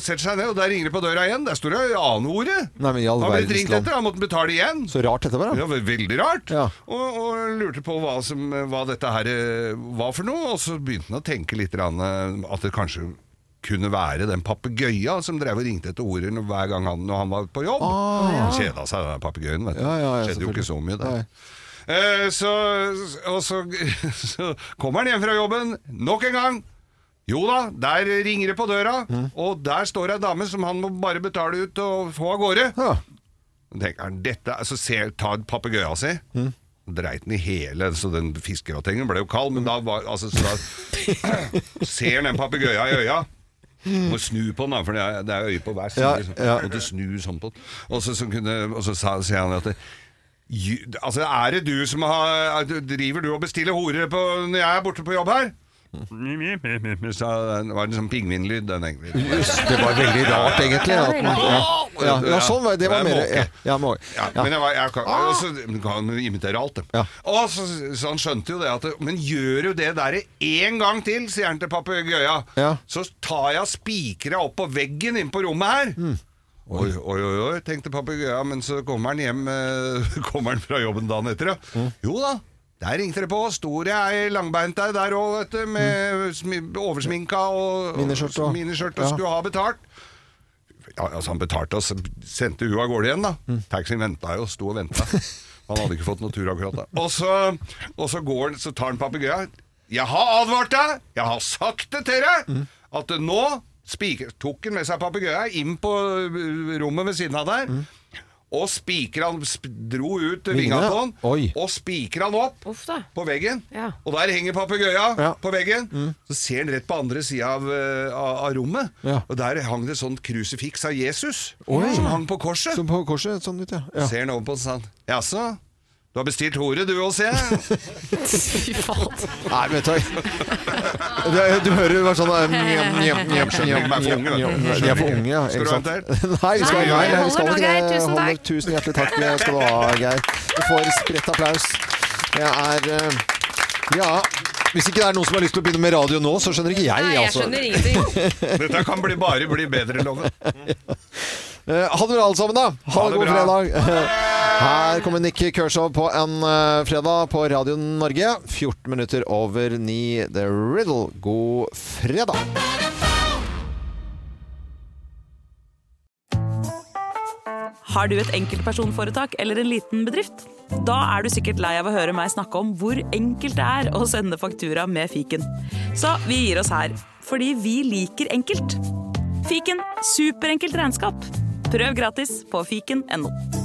C: setter seg ned, og der ringer det på døra igjen. Der står det aneordet.
A: Nei, men i all
C: Han ble
A: verdens
C: ringt
A: land.
C: etter, han måtte betale igjen.
A: Så rart dette var,
C: Det
A: da.
C: var veldig rart.
A: Ja.
C: Og, og lurte på hva, som, hva dette her eh, var for noe. Og så begynte han å tenke litt grann, eh, at det kanskje kunne være den papegøyen som drev og ringte etter ordet når- hver gang han, når han var på jobb.
A: Ah.
C: Han Kjeda seg, den papegøyen. vet du.
A: Ja, ja, ja,
C: Skjedde jo ikke så mye der.
A: Nei.
C: Eh, Så, og så, [LAUGHS] så kommer han hjem fra jobben nok en gang. Jo da, der ringer det på døra,
A: Mm.
C: og der står ei dame som han må bare betale ut og få av gårde. Så tenker han, dette, er- så ser, tar papegøyen si.
A: Mm.
C: Dreit den i hele, så den fiskegratengen ble jo kald, men da var altså, så da,
A: [LAUGHS]
C: Ser han den papegøyen i øya? Må snu på den, da, for det er, det er øye på hver side.
A: Ja,
C: liksom.
A: ja.
C: Måtte snu sånn på den. Og så, så, kunne, og så sa, sier han at det, «Ju- Altså, er det du som har er du- Driver du og bestiller horer på, når jeg er borte på jobb her? Så det var en sånn pingvinlyd, den egentlig.
A: Jøss, det var veldig rart, egentlig, at man- ja. Ja, ja, sånn var det, det var
C: Jeg er
A: mer-
C: måke.
A: ja, ja, må- ja.
C: Men jeg, var, jeg kan, og så, men kan jo imitere alt, det. Og så, så han skjønte jo det at Men gjør jo det der én gang til, sier han til papegøyen.
A: Ja.
C: Så tar jeg spikra opp på veggen inne på rommet her. Oi, oi, oi, oi, [LAUGHS] tenkte papegøyen, men så kommer han hjem eh, Kommer han fra jobben dagen etter, ja. Jo da, Der ringte det på. Store ei langbeinte der òg, vet du. Med smi- oversminka og og
A: Miniskjørt og-
C: miniskjørt og
A: ja.
C: skulle ha betalt. Ja, altså Han betalte oss, sendte hun av gårde igjen, da. Taxien venta jo, sto og venta. Han hadde ikke fått noe tur akkurat da. Og så, og så går han, så tar han papegøyen. 'Jeg har advart deg! Jeg har sagt det til deg!' At nå spiker, tok han med seg papegøyen inn på ø, rommet ved siden av der. Og spiker han, sp dro ut vinga på han, og spiker han opp på veggen. Og der henger papegøya på veggen. Så ser han rett på andre sida av, eh, av, av rommet, og der hang det sånn krusifiks av Jesus
A: Oi.
C: som hang på korset.
A: Som på korset, sånn ut, ja. ja.
C: Ser han over på den sånn Jaså? Du har bestilt hore, du òg, ser jeg. Fy faen.
A: Nei, men vet
C: [LAUGHS]
A: du Du, du hører jo bare sånn eh, njam, njam, njam,
C: Jeg skjønner ikke, de er for unge, vet du.
A: njam, njam. De er for unge, ja.
C: Skal du
A: ikke
C: ha en
A: sant? Nei, vi skal,
C: Nei,
A: nei, nei,
C: holder
A: vi skal
C: nå,
A: ikke
C: Geir.
A: det.
C: Tusen
A: Holder.
C: takk.
A: Tusen hjertelig takk skal du ha, Geir. Du får spredt applaus. Det er eh, Ja. Hvis ikke det er noen som har lyst til å begynne med radio nå, så skjønner ikke jeg.
C: Nei, jeg
A: altså.
C: skjønner
A: [LAUGHS]
C: ingenting. Dette kan bli- bare bli bedre, Loven.
A: Eh, Ha det bra, alle sammen, da. Ha,
C: Ha det
A: en god
C: bra.
A: fredag. [LAUGHS] Her kommer Nick Kershaw på en eh, fredag på Radio Norge. 14 minutter over ni. The Riddle. God fredag.
P: Har du et enkeltpersonforetak eller en liten bedrift? Da er du sikkert lei av å høre meg snakke om hvor enkelt det er å sende faktura med fiken. Så vi gir oss her, fordi vi liker enkelt. Fiken superenkelt regnskap. Prøv gratis på fiken.no.